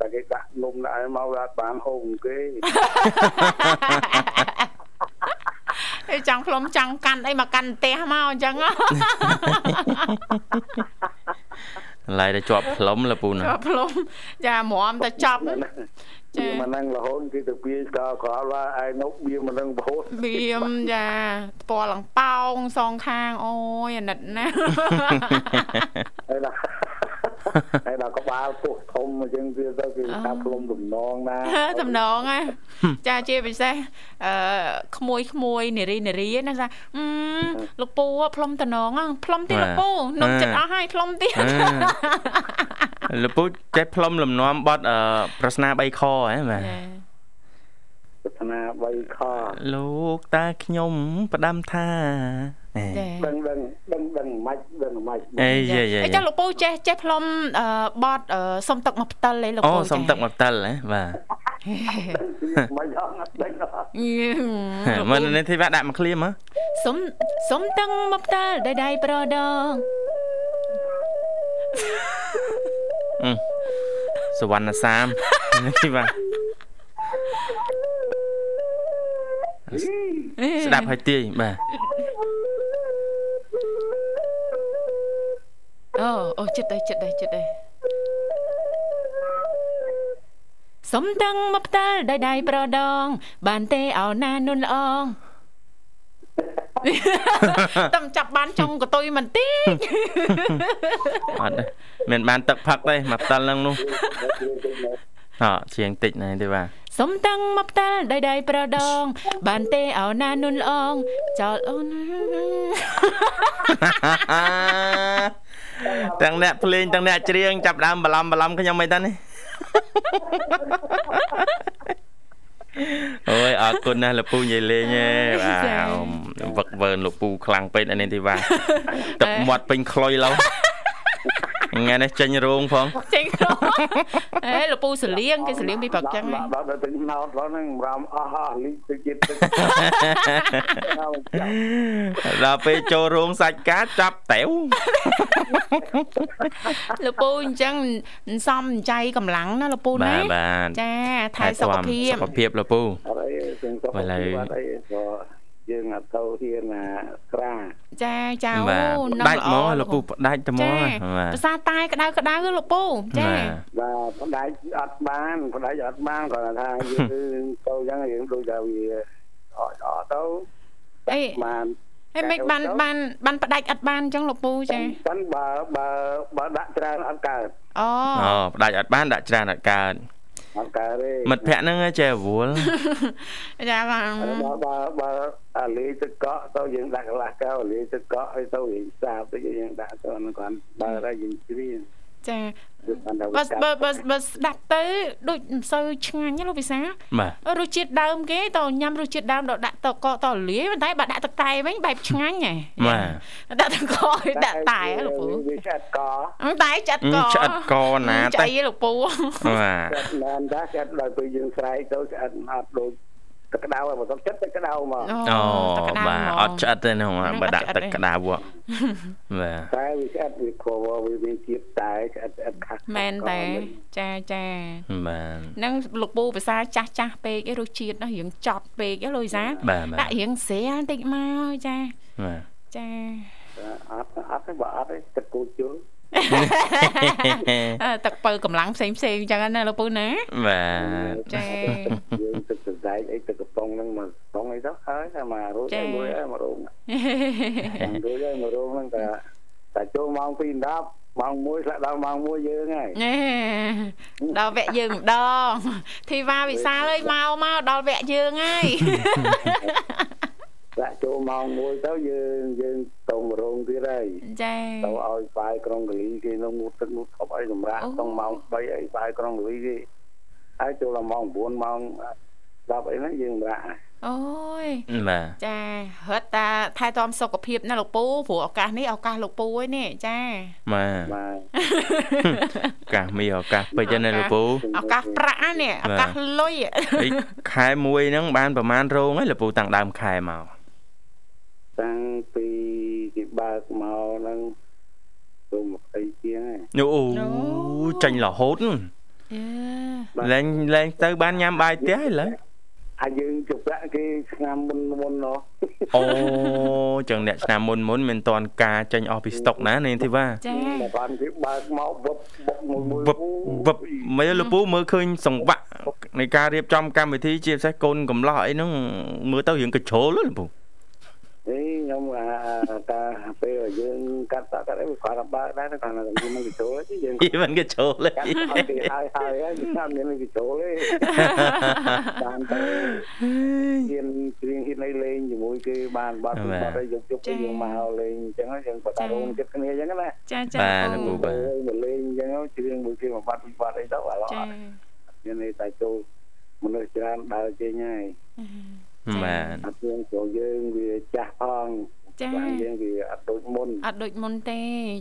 D: តែគេដាក់នំដាក់ឲ្យមកវាអត់បានហូបគេ
B: អីចង់ផ្លុំចង់កាន់អីមកកាន់ផ្ទះមកអញ្ចឹងហ៎
A: ឡាយតែជាប់ផ្លុំលោកពូណា
B: [laughs] ចូលផ្លុំចាមរំតែចប់
D: វាមិនហ្នឹងរហូតគេទៅវាក៏ក្រោលថាឯនោះវាមិនហ្នឹងរហូត
B: បៀមចាផ្ពាល់ឡងប៉ោងសងខាងអូយអាណិត [laughs] ណាស់
D: ហើយដល់ ហើយដល់ក្បាលពោះធំអញ្ចឹងវាទៅគេថាផ្លុំដំណងណា
B: តំណងណាចាជាពិសេសអឺក្មួយក្មួយនារីនារីណាចាអឺលោកពូផ្លុំតំណងហ៎ផ្លុំទៀតលោកពូនំ [laughs] ចិត្តអស់ហើយផ្លុំទៀត
A: អឺលោកពូចេះផ្លុំលំនាំបត់អឺប្រស្នា3ខហ៎បាទ
D: ស្ន ណា3ខ
A: លោកតាខ្ញុំផ្ដាំថាអេ
B: ចា
D: ដឹងដឹងដឹងដឹងមិនដឹងមិន
A: អេ
D: [laughs]
A: យាយា
B: អីចឹងលោកពូចេះចេះផ្លុំអឺបតអឺសុំទឹកមកផ្ទិលឯងលោក
A: អូ
B: ពូ
A: សុំទឹកមកផ្ទិលហ៎បាទ
D: មិនអត់ដឹងអត់
A: មិននេះធីវ៉ាដាក់មកឃ្លាមហ៎
B: [laughs] សុំសុំទឹកមកផ្ទិលដៃដៃប្រដង
A: អឺសវណ្ណសាម នេះធីវ៉ាស្ដាប់ហើយទាយបាទ
B: អូអូចិត្តទៅចិត្តទៅចិត្តទៅសុំទឹកមកផ្ទិលដៃដៃប្រដង បានទេអោណានុនល្អង [laughs] តំចាប់បានចុងកតុយមិនតិច [laughs]
A: អត់ទេមានបានទឹកផឹកទេមកផ្ទិលហ្នឹង
B: [laughs]
A: នោះអត់ជាងតិចណាស់ទេវ៉ា [laughs]
B: សុំទឹកមកផ្ទិលដៃដៃប្រដង បានទេអោណានុនល្អងចោលអូន
A: ទាំងអ្នកភ្លេងទាំងអ្នកច្រៀងចាប់ផ្ដើមបឡំបឡំខ្ញុំអីតានេះ [laughs] អូយអរគុណណាស់លោកពូនិយាយលេងឯងបាទ
B: ចា៎
A: វឹកវើលោកពូខ្លាំងពេកអានេះទេ
B: [laughs]
A: វ៉ាទឹកមាត់ពេញខ្លុយឡូវថ្ងៃនេះចេញរោង
B: [laughs]
A: ផង
B: [laughs] ចេញក្រុមអេលកពូសលៀងគេសលៀងពីប្រកចឹង
D: ដល់ដល់ដល់ទៅណោតដល់ហ្នឹងរំអស់អស់លីទៅជាតិទឹក
A: ដល់ពេលចូលរោងសាច់កាចាប់តែវ
B: លកពូអញ្ចឹងមិនសមใจកម្លាំងណាលកពូ
A: បា
B: ណា
A: ទបាទ
B: ចាថែសុខភាព
A: ថែទាំសុខភាពលោកពូ
D: អត់អីទាំងសុខ
A: ឥឡូវ
D: ភាពអត់អីក៏យើងអត់ទៅហ៊ានណាក្រា
B: ចាចា
A: បាទ
B: អូនឹង
A: ផ្ដាច់
B: ល្អ
A: មកលោកពូផ្ដាច់តែមកប
B: ចា
A: ាទ
B: ភាសាតែក្តៅក្តៅលកពូចា
A: បាទ
D: បាទផ្ដាច់អត់បានផ្ដាច់អត់បានគ្រាន់តែថាយើងទៅអញ្ចឹងយើងដូចថាវាអត់អត់ទៅ
B: អី
D: បាន
B: ហេមិនបានបានបានផ្ដាច់អត់បានអញ្ចឹងលកពូចា
D: ប៉ុន្តែបើបើបើដាក់ច្រើនអត់កើត
B: អូ
A: អូផ្ដាច់អត់បានដាក់ច្រើនអត់កើត
D: អត់កើតទេ
A: មិត្តភ័ក្ដិហ្នឹងចេះរវល់
B: ចាបាទ
D: បើបើបើអាលីទឹកកក់ទៅយើងដាក់កន្លះកៅអាលីទឹកកក់ឲ្យទៅវិញសាបទៅយើងដាក់ទៅអាហ្នឹងគាត់បើតែយើងជ្រៀង
B: ចា
D: គឺគាត់ទៅ
B: បើ
D: កាត់
B: បើបើបើស្ដាប់ទៅដូចមិនសូវឆ្ងាញ់ណាលោកវិសា
A: បាទ
B: រសជាតិដើមគេតញ៉ាំរសជាតិដើមដល់ដាក់ទឹកកកតលាយប៉ុន្តែបើដាក់ទឹកតែវិញបែបឆ្ងាញ់ហ៎
A: បាទ
B: ដាក់ទឹកកកឲ្យដាក់តែហ៎លោកពូ
D: វាចាត់ក
B: អឺតែចិត្តក
A: ឆ្អិតកណា
B: ចៃ
A: តែ
B: ហ៎លោកពូ [laughs]
A: បាទ
D: ចាត់មែនដែរចាត់ដល់ពេលយើងស្រែកទៅស្អិតអត់ដូចទឹកក្តៅហើយបើសុំចិត្តទឹកក្តៅមក
A: អូ
B: ទឹកក្តៅ
A: បាទ
B: ហ្មង
A: អត់ឆ្អិតទេហ្នឹង
B: ហ្នឹង
A: បើ
B: អត់
A: ដាក់
B: ឆ្អិត
A: ទឹក
B: ទេ
A: ក្តៅហ៎បាទ
D: តែវាស្អិតវាខោវាមានជាតិតែស្អិតស្អិតខាស់
B: មែនតែចាចា
A: បាទ
B: នឹងលោកពូភាសាចាស់ចាស់ពេកឯងរសជាតិនោះរៀងចត់ពេកឯងលោកវិសា
A: បាទបាទ
B: ដាក់រៀងស្រាលបន្តិចមកចា
A: បាទ
B: ចា
D: អត់អត់ទេបើអត់ទេទឹកគូជុល
B: អឺទឹកបើកម្លាំងផ្សេងផ្សេងអញ្ចឹងណាលោកពូ [laughs] ណា
A: បាទ
B: ចា
D: យើងទឹកសរសៃអីទឹកកំប៉ុងហ្នឹងមកកំប៉ុងអីទៅហើយតែមករត់មួយហើយមករោង
B: [laughs]
D: ចាំរួចហើយមករោងហ្នឹងតែតែចូលម៉ោង2:10ម៉ោង1ស្លាក់ដល់ម៉ោង1យើង
B: [laughs]
D: ហើយ
B: ណែដល់វគ្គយើងម្ដងធីវ៉ាវិសាលអើយមកមកដល់វគ្គយើងហើយ
D: ស្លាក់ចូលម៉ោង1ទៅយើងយើងទៅមករោងទៀត
B: [laughs]
D: ហើយ
B: ចា
D: ទៅឲ្យបាយក្រុងកលីគេនោះងូតទឹកងូតធប់អីសម្រាប់ទៅម៉ោង3អីបាយក្រុងកលីគេហើយចូលដល់ម៉ោង9ម៉ោង10អីហ្នឹងយើងសម្រាប់
B: [laughs] អូយ
A: បាទ
B: ចារត់តាថែទាំសុខភាពណាលោកពូព្រោះឱកាសនេះឱកាសលោកពូឯនេះចា
A: បាទ
D: បាទ
A: ឱកាសមានឱកាសពេកណាលោកពូ
B: ឱកាសប្រាក់នេះឱកាសលុយ [laughs]
A: អីខែមួយហ្នឹងបានប្រហែលរោងហើយលោកពូតាំងដើមខែមក
D: តាំងពីគេបើកមកហ្នឹងទៅ20ជាងហើយ
A: យូអូចាញ់រហូតហ្នឹង លេងលេងទៅបានញ៉ាំបាយផ្ទះឥឡូវ
D: ហើយយើងជប់ប្រាក់គេឆ្នាំមុនមុនណោះ
A: អូចឹងអ្នកឆ្នាំមុនមុនមិនតាន់ការចាញ់អស់ពីស្តុកណានេះទេវ៉ា
B: ចា
D: តែបានគេបើកមកវឹបបុកមួយមួយ
A: វឹបវឹបមើលលកពូមើលឃើញសង្វាក់នៃការរៀបចំកម្មវិធីជាពិសេសកូនកំឡោះអីហ្នឹងមើលទៅរឿងកជ្រោលលកពូ
D: ហេខ្ញុំអាតាពេលយើងកាត់តកាត់អីគាត់ទៅបើកដែរគាត់នៅតែមិនចូលទេយើង
A: [laughs] អីមិនកជ្រោល
D: កាត់អត់ទីហើយហើយយើងតាមមានមិនចូលទេបានទៅហ៊ានជ្រៀងហ៊ានអីលេងជាមួយគេបានបាត់បាត់ហើយយើងជប់យើងមកលេងអញ្ចឹងយើងគាត់តារងចិត្តគ្នាអញ្ចឹងណា
B: ចាចា
A: បាទលកពូបាទ
D: à មកលេងអញ្ចឹងជ្រៀងមួយគេមកបាត់ពីបាត់អីទៅអាឡោះ
B: ចា
D: មានន័យតែចូល មនុស្សច្រើនដើរចេញហើយ
A: បាទ
D: អាយើងចូលយើងវាចាស់ផង
B: ចា
D: បានយើងវាអត់ដូចមុន
B: អត់ដូចមុនទេ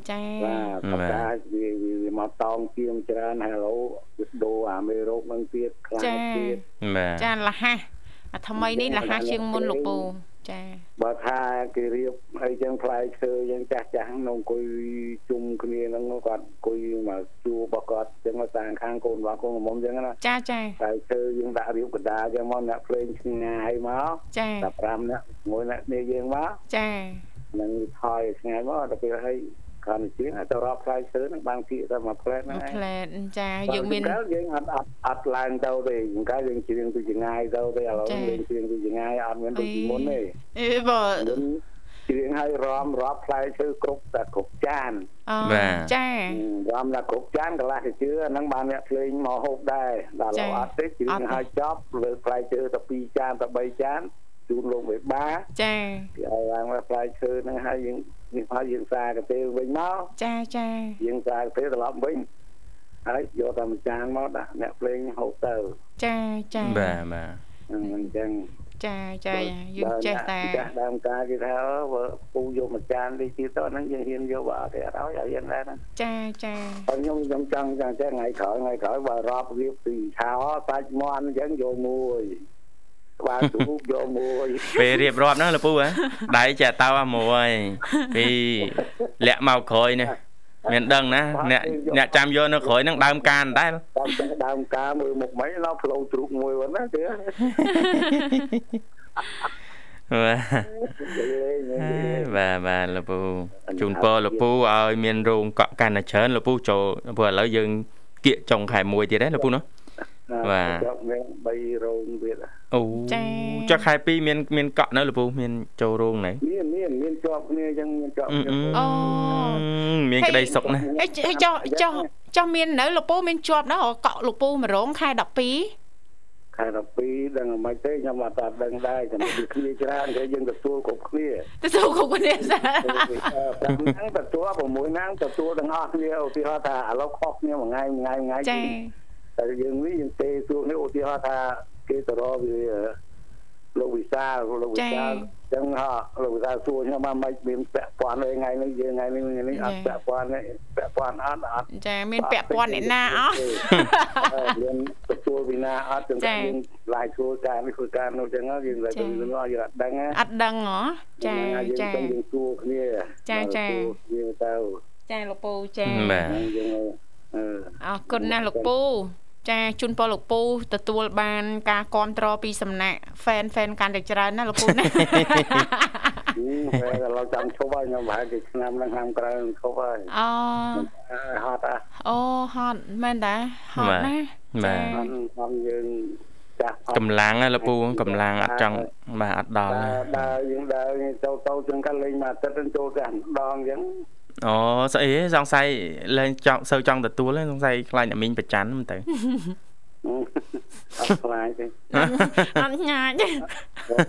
B: ចា
D: បាទប្រកាសវាវាវាមកតោងជាងច្រើនហេឡូវាដូរអាមេរោគនឹងទៀតខ្លាំង
B: ចា
D: ទៀត
A: បាទ
B: ចាលះហាអាថ្មីនេះលះហាជាងមុនលោកពូចា
D: បើថាគេរៀបអីចឹងផ្លែឈើយ៉ាងចាស់ចាស់នៅអង្គុយជុំគ្នាហ្នឹងគាត់អង្គុយមកជួបរបស់គាត់ចឹងមកតាមខាងកូនរបស់កូនក្រុមចឹងណា
B: ចាចា
D: ផ្លែឈើយើងដាក់រៀបកណ្ដាលចឹងមកអ្នកភ្លេងឆ្ងាយមក
B: ចា
D: 15នាក់ជាមួយអ្នកនេះយើងមក
B: ចា
D: នឹងថយថ្ងៃមកដល់ពេលហើយកាន់ជើងអាចទៅរកផ្លែឈើហ្នឹងបានគៀកតែមួយផ្លែហ្នឹងឯ
B: ផ្លែតចា
D: ង
B: យើងមាន
D: ចង្កាយើងអត់អត់អត់ឡើងទៅទេចង្កាយើងជើងទៅចងាយទៅទេឥឡូវ
B: ចា៎
D: យើងជើងទៅចងាយអត់មានដូចពីមុនទេ
B: អេបើ
D: យើងជើងឲ្យរំរាប់ផ្លែឈើគ្រប់តែគ្រប់ចាន
B: អចា
D: រំតែគ្រប់ចានកន្លះទៅជឿអាហ្នឹងបានអ្នកភ្លេងមកហូបដែរដល់
B: ចា៎
D: ឡូវអត់ទេជើ
B: អត់
D: ង
B: ទេ
D: ឲ្យចប់លើផ្លែឈើតែ2ចានតែ3ចានជូនលោកវេបា
B: ចា
D: គេឲ្យឡើងមកផ្លែឈើហ្នឹងឲ្យយើងនេះឲ្យយើងសារកាទេលវិញមក
B: ចាចា
D: យើងប្រើទៅត្រឡប់វិញហើយយកតាមចានមកដាក់អ្នកភ្លេងហូបទៅ
B: ចាចា
A: បាទបាទ
D: អញ្ចឹង
B: ចាចាយើងចេះតែ
D: បើអ្នកចាស់ដើមការគេថាអឺបើពូយកមួយចាននេះទៀតទៅអាហ្នឹងយើងហ៊ានយកបើអត់ទេអត់ឲ្យឲ្យយើងដែរហ្នឹង
B: ចាចា
D: តែខ្ញុំខ្ញុំចង់ចង់ចេះថ្ងៃក្រោយថ្ងៃក្រោយបើរាប់រៀបពីឆោសាច់មាន់អញ្ចឹងយកមួយក្បាលទូកយកមួយ
A: ពេលរៀបរាប់ហ្នឹងលោកពូហ៎ដៃចាតោអាមួយពីលាក់មកក្រោយនេះមានដឹងណាអ្នកអ្នកចាំយកនៅក្រោយហ្នឹងដើមការដែរ
D: តាមចាស់ដើមការមើលមុខមិញឡោផ្លូវទ្រូកមួយហ្នឹងណា
B: [laughs]
D: ទេ
A: បាទ
B: [laughs]
D: លេង
A: អេ
D: លេង
A: បាទបាទលោកពូ
D: អញ្ញា
A: ជូន
D: ត
A: ពរ
D: ទៀត
A: លោកពូឲ្យមានរោងកក់កាន់តែច្រើនលោកពូចូលលោកពូឥឡូវយើងគៀកចុងខែ1ទៀតដែរលោកពូណា បាទ
D: ចប់មាន3រោងទៀត
A: អូចុះខែ2មានមានកក់នៅលោកពូមានចូលរោងណែ
D: មានមានមានជាប់គ្នាអញ្ចឹងមានជាប់គ្នា
B: អូ
A: មានក្តីសុខណាស់
B: អេចុះចុះចុះមាននៅលោកពូមានជាប់នៅកក់លោកពូមរងខែ12
D: ខែ12ដឹងមិនទេខ្ញុំអត់តាដឹងដែរចំណុចគ្នាច្រើនគេយើងទទួលគ្រប់គ្នា
B: ទទួលគ្រប់គ្នាសា
D: [laughs] 5ហ្នឹងទទួល6ហ្នឹងទទួលទាំងអស់គ្នាឧទាហរណ៍ថាឥឡូវខុសគ្នាមួយថ្ងៃមួយថ្ងៃមួយថ្ងៃ
B: ចា
D: តែយើងនេះយើងទេទទួលនេះឧទាហរណ៍ថាគេទៅរកវាលោកវិសាលលោកវិសាលចឹងហ่าលោកវិសាលសួរខ្ញុំថាមិនមានពាក់ព័ន្ធទេថ្ងៃនេះយើងថ្ងៃនេះនេះអត់ពាក់ព័ន្ធទេពាក់ព័ន្ធអត់អត់
B: ចាមានពាក់ព័ន្ធអ្នកណាអស់
D: យើងទទួលពីណាអត់ទាំង
B: ចា៎
D: យើងឡាយធ្វើការនេះធ្វើការនោះចឹងហ៎យើងតែយើងនោះយើងអត់ដឹងហ៎
B: អត់ដឹងហ៎ចា
D: យើង
B: ចា
D: ទៅយើងទួគ្នា
B: ចាចា
D: ទួគ្នាទៅ
B: ចាលោកពូចា
A: បាទ
D: ហើយយើងអឺ
B: អរគុណណាស់លោកពូចាជូនពរលោកពូទទួលបានការគ្រប់តរពីសំណាក់ fan fan កាន់តែច្រើនណាលោកពូ [laughs] ណា
D: ពេលដល់ឡូវចាំឈប់ហើយខ្ញុំប្រហែលជាឆ្នាំហ្នឹងហាមក្រៅនឹងឈប់ហើយ
B: អូ
D: ហើយហត់ហ่ะ
B: អូហត់មែនតាហត់ណា
A: បាទ
D: ហត់ហត់យើងចាស់ហត់
A: កម្លាំងណាលោកពូកម្លាំងអត់ចង់បាទអត់ដល់ណា
D: ដើរដើរយើងដើរទៅទៅចឹងកាត់លេងមួយអាទិត្យហ្នឹងចូលតែម្ដងចឹង
A: អូស្អីហ៎សង្ស័យលែងចង់សូវចង់ទទួលហ៎សង្ស័យខ្លាចអ្នកមីងប្រច័ណ្ឌហ្នឹង
B: [laughs]
A: ទៅ
D: អឺអត់ខ្លាចទេ
B: អត់ញ៉ាច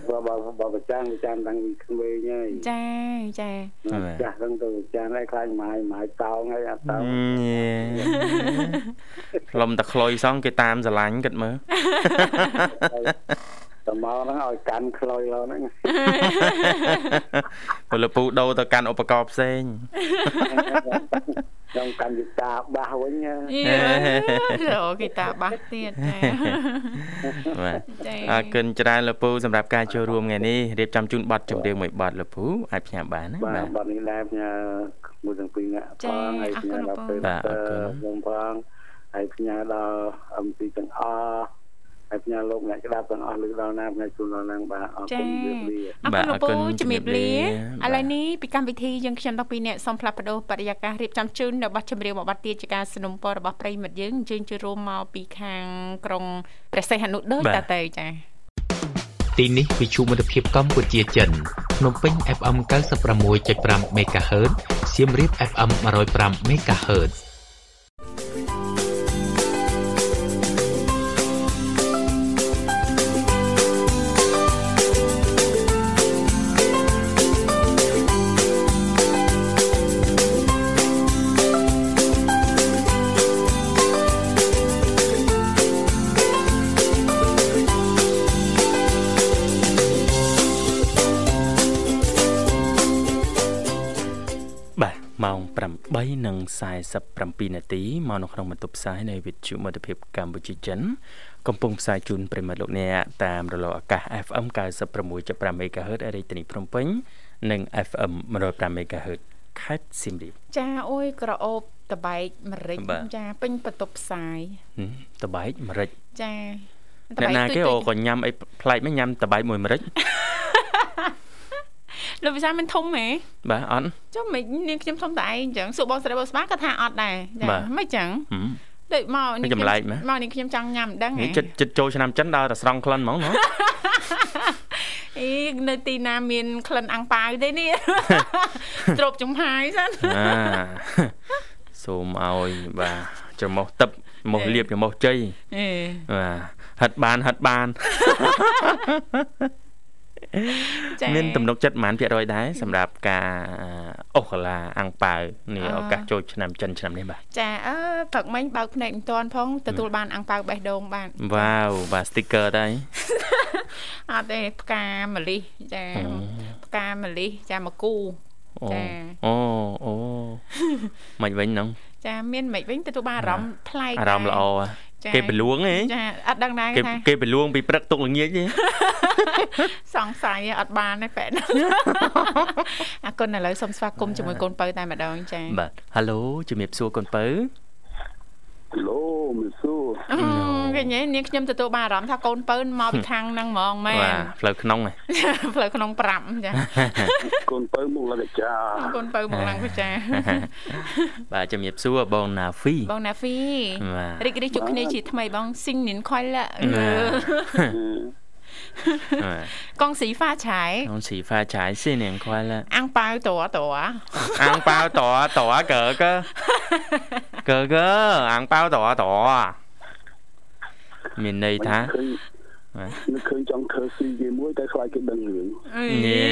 D: បើបើបើប្រចាំប្រចាំតាំងពីក្មេងហើយ
B: [laughs] ចាចា
D: ចាស់ហ្នឹងទៅប្រចាំហើយខ្លាចម៉ាយម៉ាយតោងហើយអត់តោង
A: ញ៉េ [laughs] ខ្លុំតែខ្លុយសោះគេតាមស្រឡាញ់គិត
B: [laughs]
A: មើល
D: តមកហ្នឹងឲ្យកាន់ខ្លុយឡោ [laughs] ហ្នឹង
A: ព្រោះលោកពូដូរទៅកាន់ឧបករណ៍ផ្សេង
D: ខ្ញុំកាន់យីតាបាសវិញណា
B: អីអូគេតាបាស់ទៀតចា
A: បាទ
B: ចា
A: អរគុណច្រើនលោកពូសម្រាប់ការចូលរួមថ្ងៃនេះរៀបចំជូនប័ណ្ណចម្រៀងមួយប័ណ្ណលោកពូអាចផ្ញើបានណា
D: បា
A: បាទ ទ
D: បាត់នេះដែរផ្ញើមួយទាំងពីរអ្នកផងហើយផ្ញើដល់ពេលខ្ញុំផងហើយផ្ញើដល់ MC ទាំងអស់ហើយផ្ញើលោកអ្នកស្ដាប់ទាំងអស់លើដល់ណាផ្ញើជូនដល់ណាបាទអរគុណលាលា
A: បាទ
B: អរគុណលោកពូ
A: អរគុណ
B: ជំ
A: ជំ
B: រាបលា
A: រាបលា
B: ឥឡូវនេះពីកម្មវិធីយើងខ្ញុំដល់ពីរអ្នកសូមផ្លាស់ប្ដូរបរិយាកាសរៀបចំជូននៅប័ណ្ណចម្រៀងមួយប័ណ្ណទៀតជាការสนับสนุนរបស់ប្រិយមិត្តយើងអញ្ជើញជួយរួមមកពីខាងក្រុងព្រះសីហនុដូច
A: បាទ
B: តទៅចា
E: ទីនេះវិទ្យុមិត្តភាពកម្ពុជាចិនភ្នំពេញ FM 96.5 MHz សៀមរាប FM 105 MHz
F: អ
A: 3:47នាទីមកនៅក្នុងបន្ទប់ផ្សាយនៃវិទ្យុមិត្តភាពកម្ពុជាចិន កំពុងផ្សាយជូនប្រិមត្តលោកអ្នកតាមរលកអាកាស FM 96.5 MHz រាជធានីភ្នំពេញនិង FM 105 MHz ខេត្តសៀមរាប
B: ចាអូយក្រអូបតបែកម្រិច
A: បាទ
B: ចាពេញបន្ទប់ផ្សាយ
A: ហឹមតបែកម្រេច
B: ចា
A: អ្នកណាគេ
B: ទុយៗ
A: អូក៏ញ៉ាំអីប្លែកមិនញ៉ាំតបែកមួយ [laughs] ម្រេច
B: លោកវិសាលមិនធំហ៎
A: បាទអត់
B: ចុះមិននាងខ្ញុំធំតែឯងអញ្ចឹងសួរបងស្រីបងស្បាក៏ថាអត់ដែរចា
A: បាទ
B: មិនអញ្ចឹង
A: ហឹម
B: ដូចមក
A: មិនចម្លែកម៉េច
B: មកនាងខ្ញុំចង់ញ៉ាំដឹងហ៎
A: នេះចិត្តចិត្តចូលឆ្នាំចិនដល់តែស្រង់ក្លិនហ្មង [laughs] ណា
B: អីនៅទីណាមានក្លិនអាំងប៉ាវទេ
A: [laughs]
B: នេះ ទ្រប់ចំហាយសិន
A: អាសូមឲ្យបាទច្រមុះទឹកច្រមុះលៀបច្រមុះជ័យ
B: អេ
A: បាទហិតបានហិតបាន មានទំនុកចិត្តប្រហែលភាគរយដែរសម្រាប់ការអូកាឡាអាំងប៉ាវនេះឱកាសចូលឆ្នាំចិនឆ្នាំនេះបាទ
B: ចាអឺព្រឹកមិញបើកភ្នែកមិនទាន់ផងទទួលបានអាំងប៉ាវបេះដូងបាន
A: វ៉ាវបាទ sticker ដែរ
B: អត់ទេផ្កាម្លិះចា
A: អូ
B: ផ្កាម្លិះចាមកគូ
A: អូ
B: ចា
A: អូ [laughs] អូមិនវិញហ្នឹង
B: ចាមានមិនវិញទទួលបានអារម្មណ៍ប្លែក
A: អារម្មណ៍ល្អហ៎
B: ចា
A: គេប្រលួងហ៎
B: ចាអត់ដឹងដែរ
A: គេ
B: ថា
A: គេប្រលួងពីព្រឹកទុកល្ងាចហ៎
B: សង្ស័យអត់បានទេ
A: [laughs]
B: ប៉ែន អរគុណឥឡូវសូមស្វាគមន៍ជាមួយកូនបើតែម្ដងចា
A: បាទ Halo ជំរាបសួរកូនពៅ
D: លោមិនសួរ
B: អឺវិញឯងនាងខ្ញុំទទួលបានអារម្មណ៍ថាកូនបើមកពីខាងហ្នឹងហ្មងមែ
A: បាទ
B: ន
A: ផ្លូវក្នុង [laughs] ហ៎
B: ផ្លូវក្នុង5ចា
D: កូនទៅមុខលកចា
B: កូនបើមកឡើងវិចា
A: បាទជំរាបសួរបងណាហ្វី
B: បងណាហ្វី
A: បាទ
B: រីករាយជួបគ្នាជាថ្មីបងស៊ីងនិនខល
A: [laughs]
B: កងស៊ីហ្វាឆៃ
A: ខ្ញុំស៊ីហ្វាឆៃស៊ីនាងខ្វល់
B: អង្ប៉ាវតរតរ
A: អាំងប៉ាវតតកកកកអាំងប៉ាវតតមានន័យថា
D: [laughs] នឹកឃើញចង់ឃើញស៊ីគេមួយតែខ្លាចគេដឹងរឿង
A: យេឥ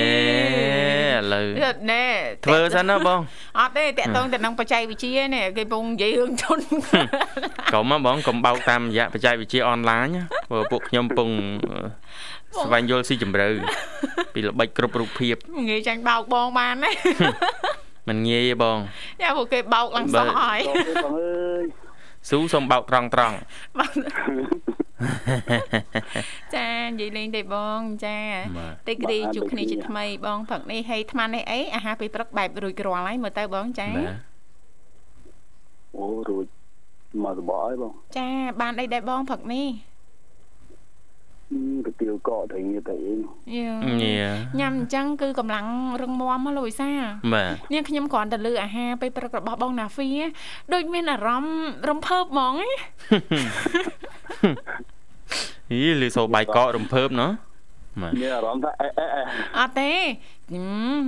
A: ឡូវ
B: យត់ណែ
A: ធ្វើសិនណាបង
B: អត់ទេតាក់ទងទៅនឹងបច្ចេកវិទ្យានេះគេពងនិយាយរឿងជ [laughs] ន់
A: កុំណាបងកុំបោកតាមរយៈបច្ចេកវិទ្យាអនឡាញណាព្រោះពួកខ្ញុំកំពុងស្វែងយល់ស៊ីជម្រៅពីល្បិចគ្រប់រូបភាព
B: ងាយចាញ់បោកបងបាន [laughs] ណា
A: มันងាយទេបង
B: យ៉ាពួកគេបោកឡើងសោះហើយ
D: តោះទេបងអើយ
A: ស៊ូសុំបោកត្រង់ត្រង់
B: បង [laughs] ចានិយាយលេងទេបងចា
A: បាទ
B: តិចរីជួបគ្នាជាថ្មីបងព្រឹកនេះហើយអាត្មានេះអីអាហារពេលព្រឹកបែបរួចរាល់ហើយមើលទៅបងចា
A: បាទ
D: [laughs] អូរួចមកសបអើយបង
B: ចាបានអីដែរបងព្រឹកនេះ
D: អឺកាទៀវកកតែងារតែអីនោះ
B: យូ
A: ញា
B: ញ៉ាំអញ្ចឹងគឺកម្លាំងរឹងមាំហ៎លោកវិសាល
A: បាទ [laughs]
B: នាងខ្ញុំគ្រាន់តែលើអាហារពេលព្រឹករបស់បងណាហ្វីដូចមានអារម្មណ៍រំភើបហ្មងឯង
A: អីលឺសូរបាយកករំភើបណោះបាទ
D: មានអារម្មណ៍ថាអេអេអេ
B: អត់ទេហឹម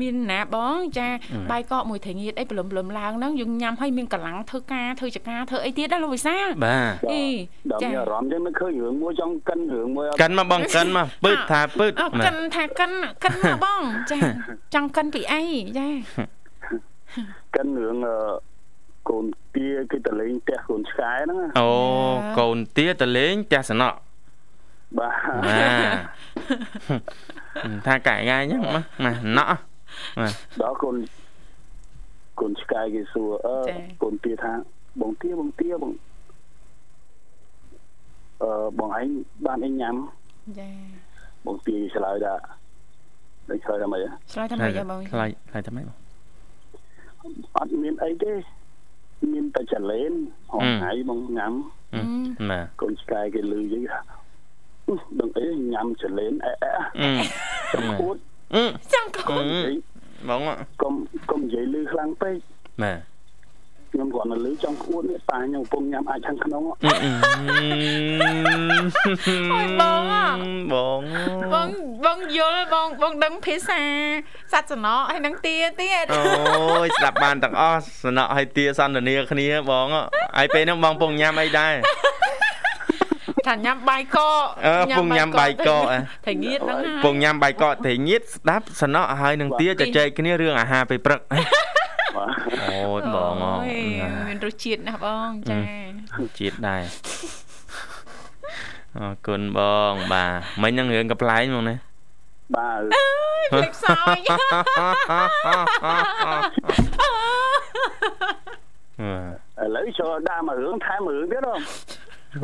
B: មានណាបងចា
A: អឺ
B: បាយកកមួយថ្ងៃទៀតអីព្រលឹមព្រលឹមឡើងហ្នឹងយើងញ៉ាំឲ្យមានកម្លាំងធ្វើការធ្វើចការធ្វើអីទៀតណាលោកវិសាល
A: បាទ
B: អី
D: ដល់មានអារម្មណ៍ចឹងនឹកឃើញរឿងមួយចង់កិនរឿងមួយអត់
A: កិនមកបងកិនមកពឹតថាពឹត
B: អើកិនថាកិនកិនមកបង
A: [laughs]
B: ចាចង់កិនពីអីចា
D: កិនរឿងអឺកូនទាគេតលេងផ្ទះកូនឆ្កែហ្នឹងណា
A: អូកូនទាទៅលេងចាស់សំណក់
D: បាទ
A: Dạ.
D: [laughs]
A: បាទថាកាយងាយហ្នឹងមកណាសំណក់បាទ
D: ដល់កូនកូនឆ្កែគេសួរអឺកូនទាថាបងទាបងទាបងអឺបងឯងបានអីញ៉ាំ
B: ចា
D: បងទាឆ្លើយថាដូចឆ្លើយថាម៉េចហ៎
B: ឆ្លើយថាម៉េចបង
A: ថ្លៃថ្លៃតែម៉េចបង
D: អត់មានអីទេមានតែចលែនហ
A: អឺ
D: ងថ្ងៃបងញ៉ាំ
A: ហឹមបាទ
D: កូនឆ្កែគេលឺយីថាអ៊ឹមដឹងអីញ៉ាំចលែនអេអេអេ
A: អឺ
D: ចាំអួត
A: អឺ
B: ចង់កូន
D: និយាយ
A: បងអ่ะ
D: កុំកុំនិយាយលឺខ្លាំងពេក
A: បាទ
D: ខ្ញុំគ្រាន់តែលឺចង់អួតនេះប៉ាខ្ញុំកំពុងញ៉ាំអាចខាងក្នុងហ៎
A: អូយបងបង
B: បងបងយល់បងបងដឹងភាសាសត្វសំណក់ហើយនឹងទាទៀត
A: អូយស្ដាប់បានទាំងអស់សំណក់ឲ្យទាសន្ទនាគ្នាបងអ่ะហើយពេលហ្នឹងបងពងញ៉ាំអីដែរ
B: ថាញ៉ាំបាយកក
A: អឺពងញ៉ាំបាយកកអ่ะ
B: ថ្ងៃងៀតហ្នឹង
A: ព
B: ហើយ
A: ងញ៉ាំបាយកកត្រីងៀតស្ដាប់សំណក់ហើយនឹងទាជជែកគ្នារឿងអាហារពេលព្រឹ [laughs] ក អូយបងអ
B: យមានរសជាតិណាស់បងចា
A: ជាតិដែរ [laughs] អរគុណបងបាទមិញហ្នឹងរឿងកំ pl ែងមកណា
D: បាទ
A: [laughs]
B: ភ្លេចសោយ
D: ឥឡូវចូលដាក់មួយរឿងថែមមួយរឿងទៀតហ៎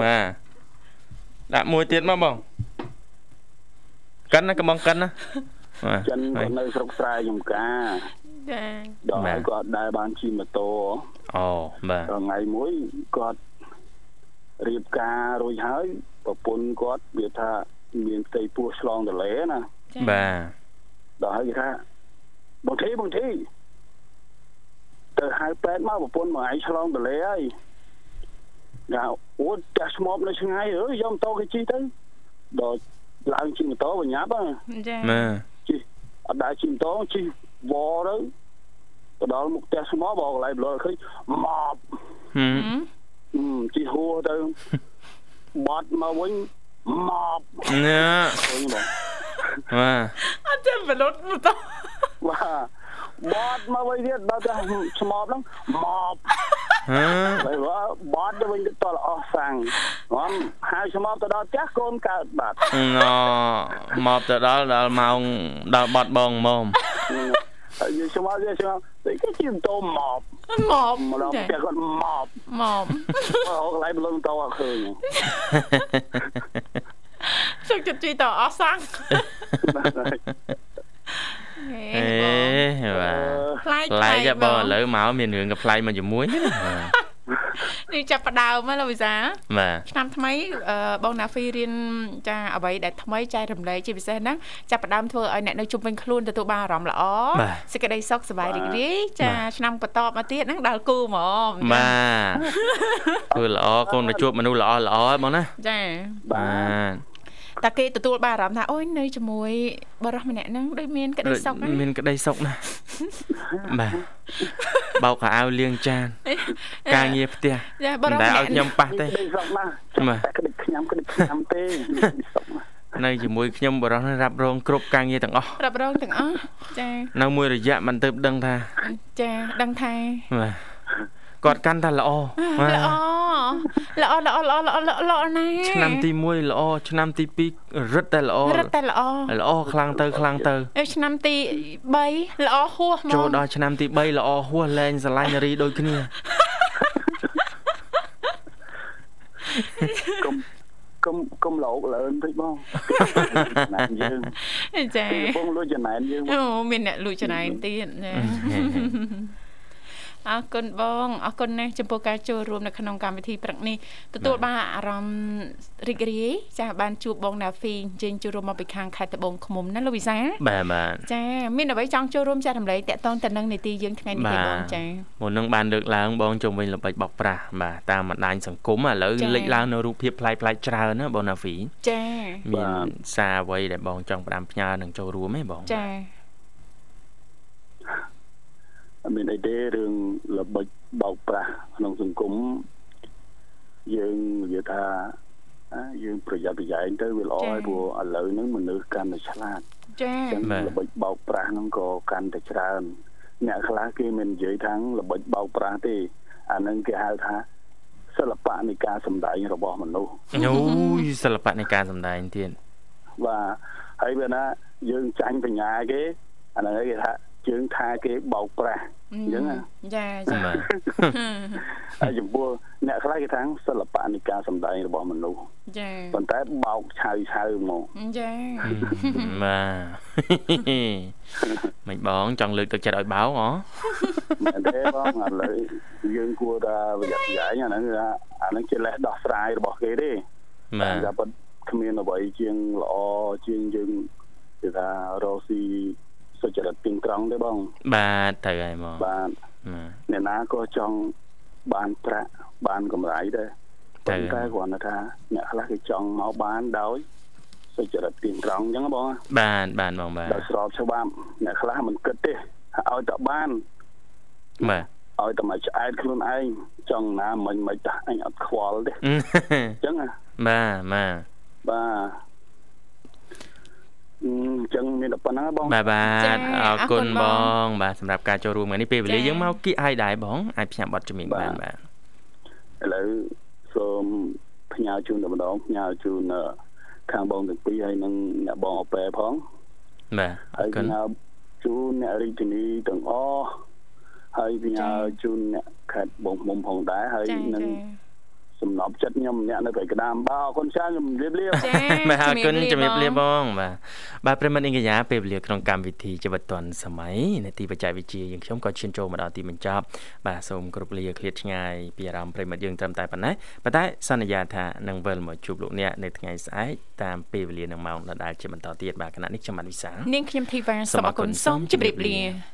A: បាទដាក់មួយទៀតមកបងកិនណាកំងកិនណាបាទ
D: ចិនគាត់នៅស្រុកស្រែចំការ
B: ចា
D: ដល់ហើយគាត់ដែរបានជិះម៉ូតូ
A: អូបាទ
D: ដល់ថ្ងៃមួយគាត់រៀបការរួចហើយប្រពន្ធគាត់វាថាមានផ្ទៃពោះឆ្លងតលេណា
A: បាទ
D: ដល់ហើយគេថាបងធីបងធីទៅហៅប៉ែតមកប្រពន្ធមកឯងឆ្លងតលេហើយដល់អូតចាស់ស្មប់នៅឆ្ងាយអើយយកម៉ូតូគេជិះទៅដល់ឡើងជិះម៉ូតូបញ្ញាប់ហ៎
B: ចា
A: បាទ
D: ជិះអត់ដែរជិះតងជិះវទៅទៅដល់មុខផ្ទះស្មោះបងកន្លែងប្លោះឃើញម៉ប់
A: ហឹម
D: ហ៊ឹមជិះហួរ [laughs] ទៅបត់មកវិញម៉ប់
A: ណែ
D: វិញ [laughs] បង
A: បាទ
B: អត់ចាំបលុតមកតោះ
D: បាទបត់មកវិញទៀតដល់ទៅស្មប់ហ្នឹងម៉ប់
A: ហឺ
D: ហើយបើបត់ទៅវិញទៅតអស់សាំងហ្នឹងហៅស្មប់ទៅដល់ផ្ទះកូនកើតបាទ
A: ណមកទៅដល់ដល់ម៉ោងដល់បាត់បងម៉ម
D: ហើយយើងស្មប់យើងស្មប់តែគេជិះតោម៉ប់
B: មក
D: មកដល់
B: ចា
D: ផ្ទះគាត់ម៉ប់
B: មក
D: អូកន្លែងប្លោះតអត់ឃើញ
B: សុខចិត្តជួយតអស់សាំង
A: អេបាទប្លែ
B: ខ្លាយ
A: កហ៎បងឥឡូវមកមានរឿងក៏ប្លែកមកជាមួយនេះណា
B: នេះចាប់ផ្ដើមហើយលោកវិសា
A: បាទ
B: ឆ្នាំថ្មីអឺបងណាហ្វីរៀនចាអ្វីដែលថ្មីចែករំលែកជាពិសេសហ្នឹងចាប់ផ្ដើមធ្វើឲ្យអ្នកនៅជុំវិញខ្លួនទទួលបានអារម្មណ៍ល្អ
A: បាទ
B: សេចក្តីសុខសប្បាយរីករាយចាឆ្នាំបន្តមកទៀតហ្នឹងដល់គូហ្មង
A: បាទធ្វើល្អកូនមកជួបមនុស្សល្អល្អៗបងណា
B: ចា
A: បាទ
B: តែគេទទួលបានអារម្មណ៍ថាអូយនៅជាមួយបរិសម្នាក់ហ្នឹងដូចមានក្តីសុខណាស់
A: មានក្តីសុខណាស់បាទបោកកៅអៅលាងចាន ការងារផ្ទះ
B: ចាបរិ
A: តែ
B: ស
A: ឲ្យ
B: ម្នាក់
A: ខ្ញុំប៉ះទេ
D: ក្តីសុខណាស់
A: បាទ
D: តែក្តីខ្ញុំក្តីខ្ញុំ [laughs] ទេក្តីសុខណាស់
A: នៅជាមួយខ្ញុំបរិសុទ្ធរាប់រងគ្រប់ការងារទាំងអស់
B: រាប់រងទាំងអស់ចា
A: នៅមួយរយៈមិនទៅដឹងថា
B: ចាដឹងថា
A: បាទគាត់កាន់តែល្អបាទ
B: ល្អល្អល្អល្អល្អល្អល្អណាស់
A: [laughs] ឆ្នាំទី1ល្អឆ្នាំទី2រឹតតែល្អ
B: រត់តែល្អ
A: ល្អខ្លាំងទៅខ្លាំងទៅ
B: អេឆ្នាំទី3ល្អហួសហ្ម
A: ចូល
B: ង
A: ដល់ឆ្នាំទី3ល្អហួសលែងស្រឡាញ់នារីដូចគ្នា
D: កុំកុំកុំលោកលើនតិចបងណាស់យើង
B: ចា
D: ពីបងលួចចំណែនយើង
B: អូមានអ្នកលួចចណៃទៀតណាអរគុណបងអរគុណណាស់ចំពោះការចូលរួមនៅក្នុងកម្មវិធីព្រឹកនេះទទួលបានអារម្មណ៍រីករាយចាស់បានជួបបងណាហ្វីអញ្ជើញចូលរួមមកពីខាងខេត្តត្បូងឃ្មុំណាលោកវិសា
A: បាទបាទ
B: ចាមានអ្វីចង់ចូលរួមចែករំលែកតកតងទៅនឹងនីតិយើងថ្ងៃនេះទេបងចា
A: មុននឹងបានលើកឡើងបងជុំវិញល្បិចបោកប្រាស់បាទតាមបណ្ដាញសង្គមឥឡូវ
B: ចា៎
A: លេចឡើងនៅរូបភាពប្លែកៗច្រើនណាបងណាហ្វី
B: ចា
A: មានសារអ្វីដែលបងចង់ផ្ដាំផ្ញើនឹងចូលរួមទេបង
B: ចា
D: អត់មានអីទេរឿងល្បិចបោកប្រាស់ក្នុងសង្គមយើងនិយាយថាអាយើងប្រយ័ត្នប្រយែងទៅវាល្អហើយព្រោះឥឡូវហ្នឹងមនុស្សកាន់តែឆ្លាត
B: ចា
D: ចឹងល្បិចបោកប្រាស់ហ្នឹងក៏កាន់តែច្រើនអ្នកខ្លះគេមិននិយាយថាល្បិចបោកប្រាស់ទេអាហ្នឹងគេហៅថាសិល្បៈនៃការសម្ដែងរបស់មនុស្ស
A: អូយសិល្បៈនៃការសម្ដែង
B: [laughs]
A: ទៀត [laughs]
D: បាទហើយបើណាយើងចាញ់បញ្ញាគេអាហ្នឹងគេថាយើងថាគេបោកប្រាស់អញ្ចឹងណា
B: ចាចា
A: បាទ [laughs]
D: ហើយចំពោះអ្នកខ្លះគេថាសិល្បៈនៃការសម្ដែងរបស់មនុស្ស
B: ចា
D: ប៉ុន្តែបោកឆៅឆៅៗហ្មក
B: ចា
A: បាទ មិនបងចង់លើកទឹកចិត្តឲ្យបោកអ្ហ៎
D: មែនទេបងឥឡូវយើងគួរតែប្រយ័ត្នប្រយែងអាហ្នឹងគឺថាអាហ្នឹងជាលេសដោះស្រាយរបស់គេទេ
A: បា
D: តែ
A: ទ
D: ប៉ុតគ្មានអ្វីជាងល្អជាងយើងគេថារកស៊ីសុចរិតទៀងត្រង់ទេបង
A: បាទត្រូវហើយបងបាទ
D: បាទអ្នកណាក៏ចង់បានប្រាក់បានកម្រៃដែរ
A: ទៅ
D: ប៉ុន្តែគ្រាន់តែថាអ្នកខ្លះគេចង់មកបានដោយសុចរិតទៀងត្រង់អញ្ចឹងបង
A: បាទបាទបងបាទ
D: ដល់ស្របច្បាប់អ្នកខ្លះមិនគិតទេឲ្យតែបាន
A: បាទ
D: ឲ្យតែមកឆ្អែតខ្លួនឯងចង់ណាមិនមិនតាអញអត់ខ្វល់ទេ
A: [laughs]
D: អញ្ចឹងណា
A: បាទបាទ
D: បាទអឺអញ្ចឹងមានតែប៉ុណ្ណឹងហើយបង
A: បាទបាទ
B: ចា
A: អរគុណ
B: អរគុណ
A: ប
B: បង
A: ង បាទសម្រាប់ការចូលរួមថ្ងៃនេះពេលវេលា
B: ចា
A: យើងមកគៀកឲ្យដែរបងអាចផ្សាយប័ណ្ណជំនាញ
D: បា
A: បាន នបាទ
D: ឥឡូវសូមផ្ញើជូនតែម្ដងផ្ញើជូនអឺខាងបងទាំងពីរហើយនិងអ្នកបងអប៉ែផង
A: បាទអ
D: ហើ
A: រ
D: យ
A: គុណ
D: ផ្ញើជូនអ្នករាជធានីទាំងអស់ ហើយផ្ញើជូនអ្នកខេត្តបងមុំផងដែរហើយ
B: ចា
D: នឹង
B: ចា
D: សំណប់ចិត្តខ្ញុំម្នាក់នៅប្រៃក្តាមបាទអរគុណច្រើនខ្ញុំជម្រាបលា
B: ចា
A: [laughs] បាទអរគុណ
B: ជ
A: ជំរាបលា
B: បង
A: បងបាទបាទប្រិមត្តអ៊ីងកញ្ញាពេលវេលាក្នុងកម្មវិធីជីវិតឌွန်សម័យនាទីបច្ចេកវិទ្យាយើងខ្ញុំក៏ឈានចូលមកដល់ទីបញ្ចប់បាទសូមគ្រប់លាឃ្លាតឆ្ងាយពីអារម្មណ៍ប្រិមត្តយើងត្រឹមតែប៉ុណ្ណេះប៉ុន្តែសន្យាថានឹងវិលមកជួបលោកអ្នកនៅថ្ងៃស្អែកតាមពេលវេលានឹងម៉ោងដដែលជាបន្តទៀតបាទគណៈនេះខ្ញុំបានវិសាល
B: នាងខ្ញុំធីវ៉ា
A: សូ
B: សូ
A: ម
B: ម
A: អរ
B: អរ
A: គុ
B: គុ
A: ណ
B: ណ
A: សូ
B: សូ
A: ម
B: ម
A: ជ
B: ជ
A: ម្រា
B: ម្រា
A: ប
B: ប
A: លា
B: លា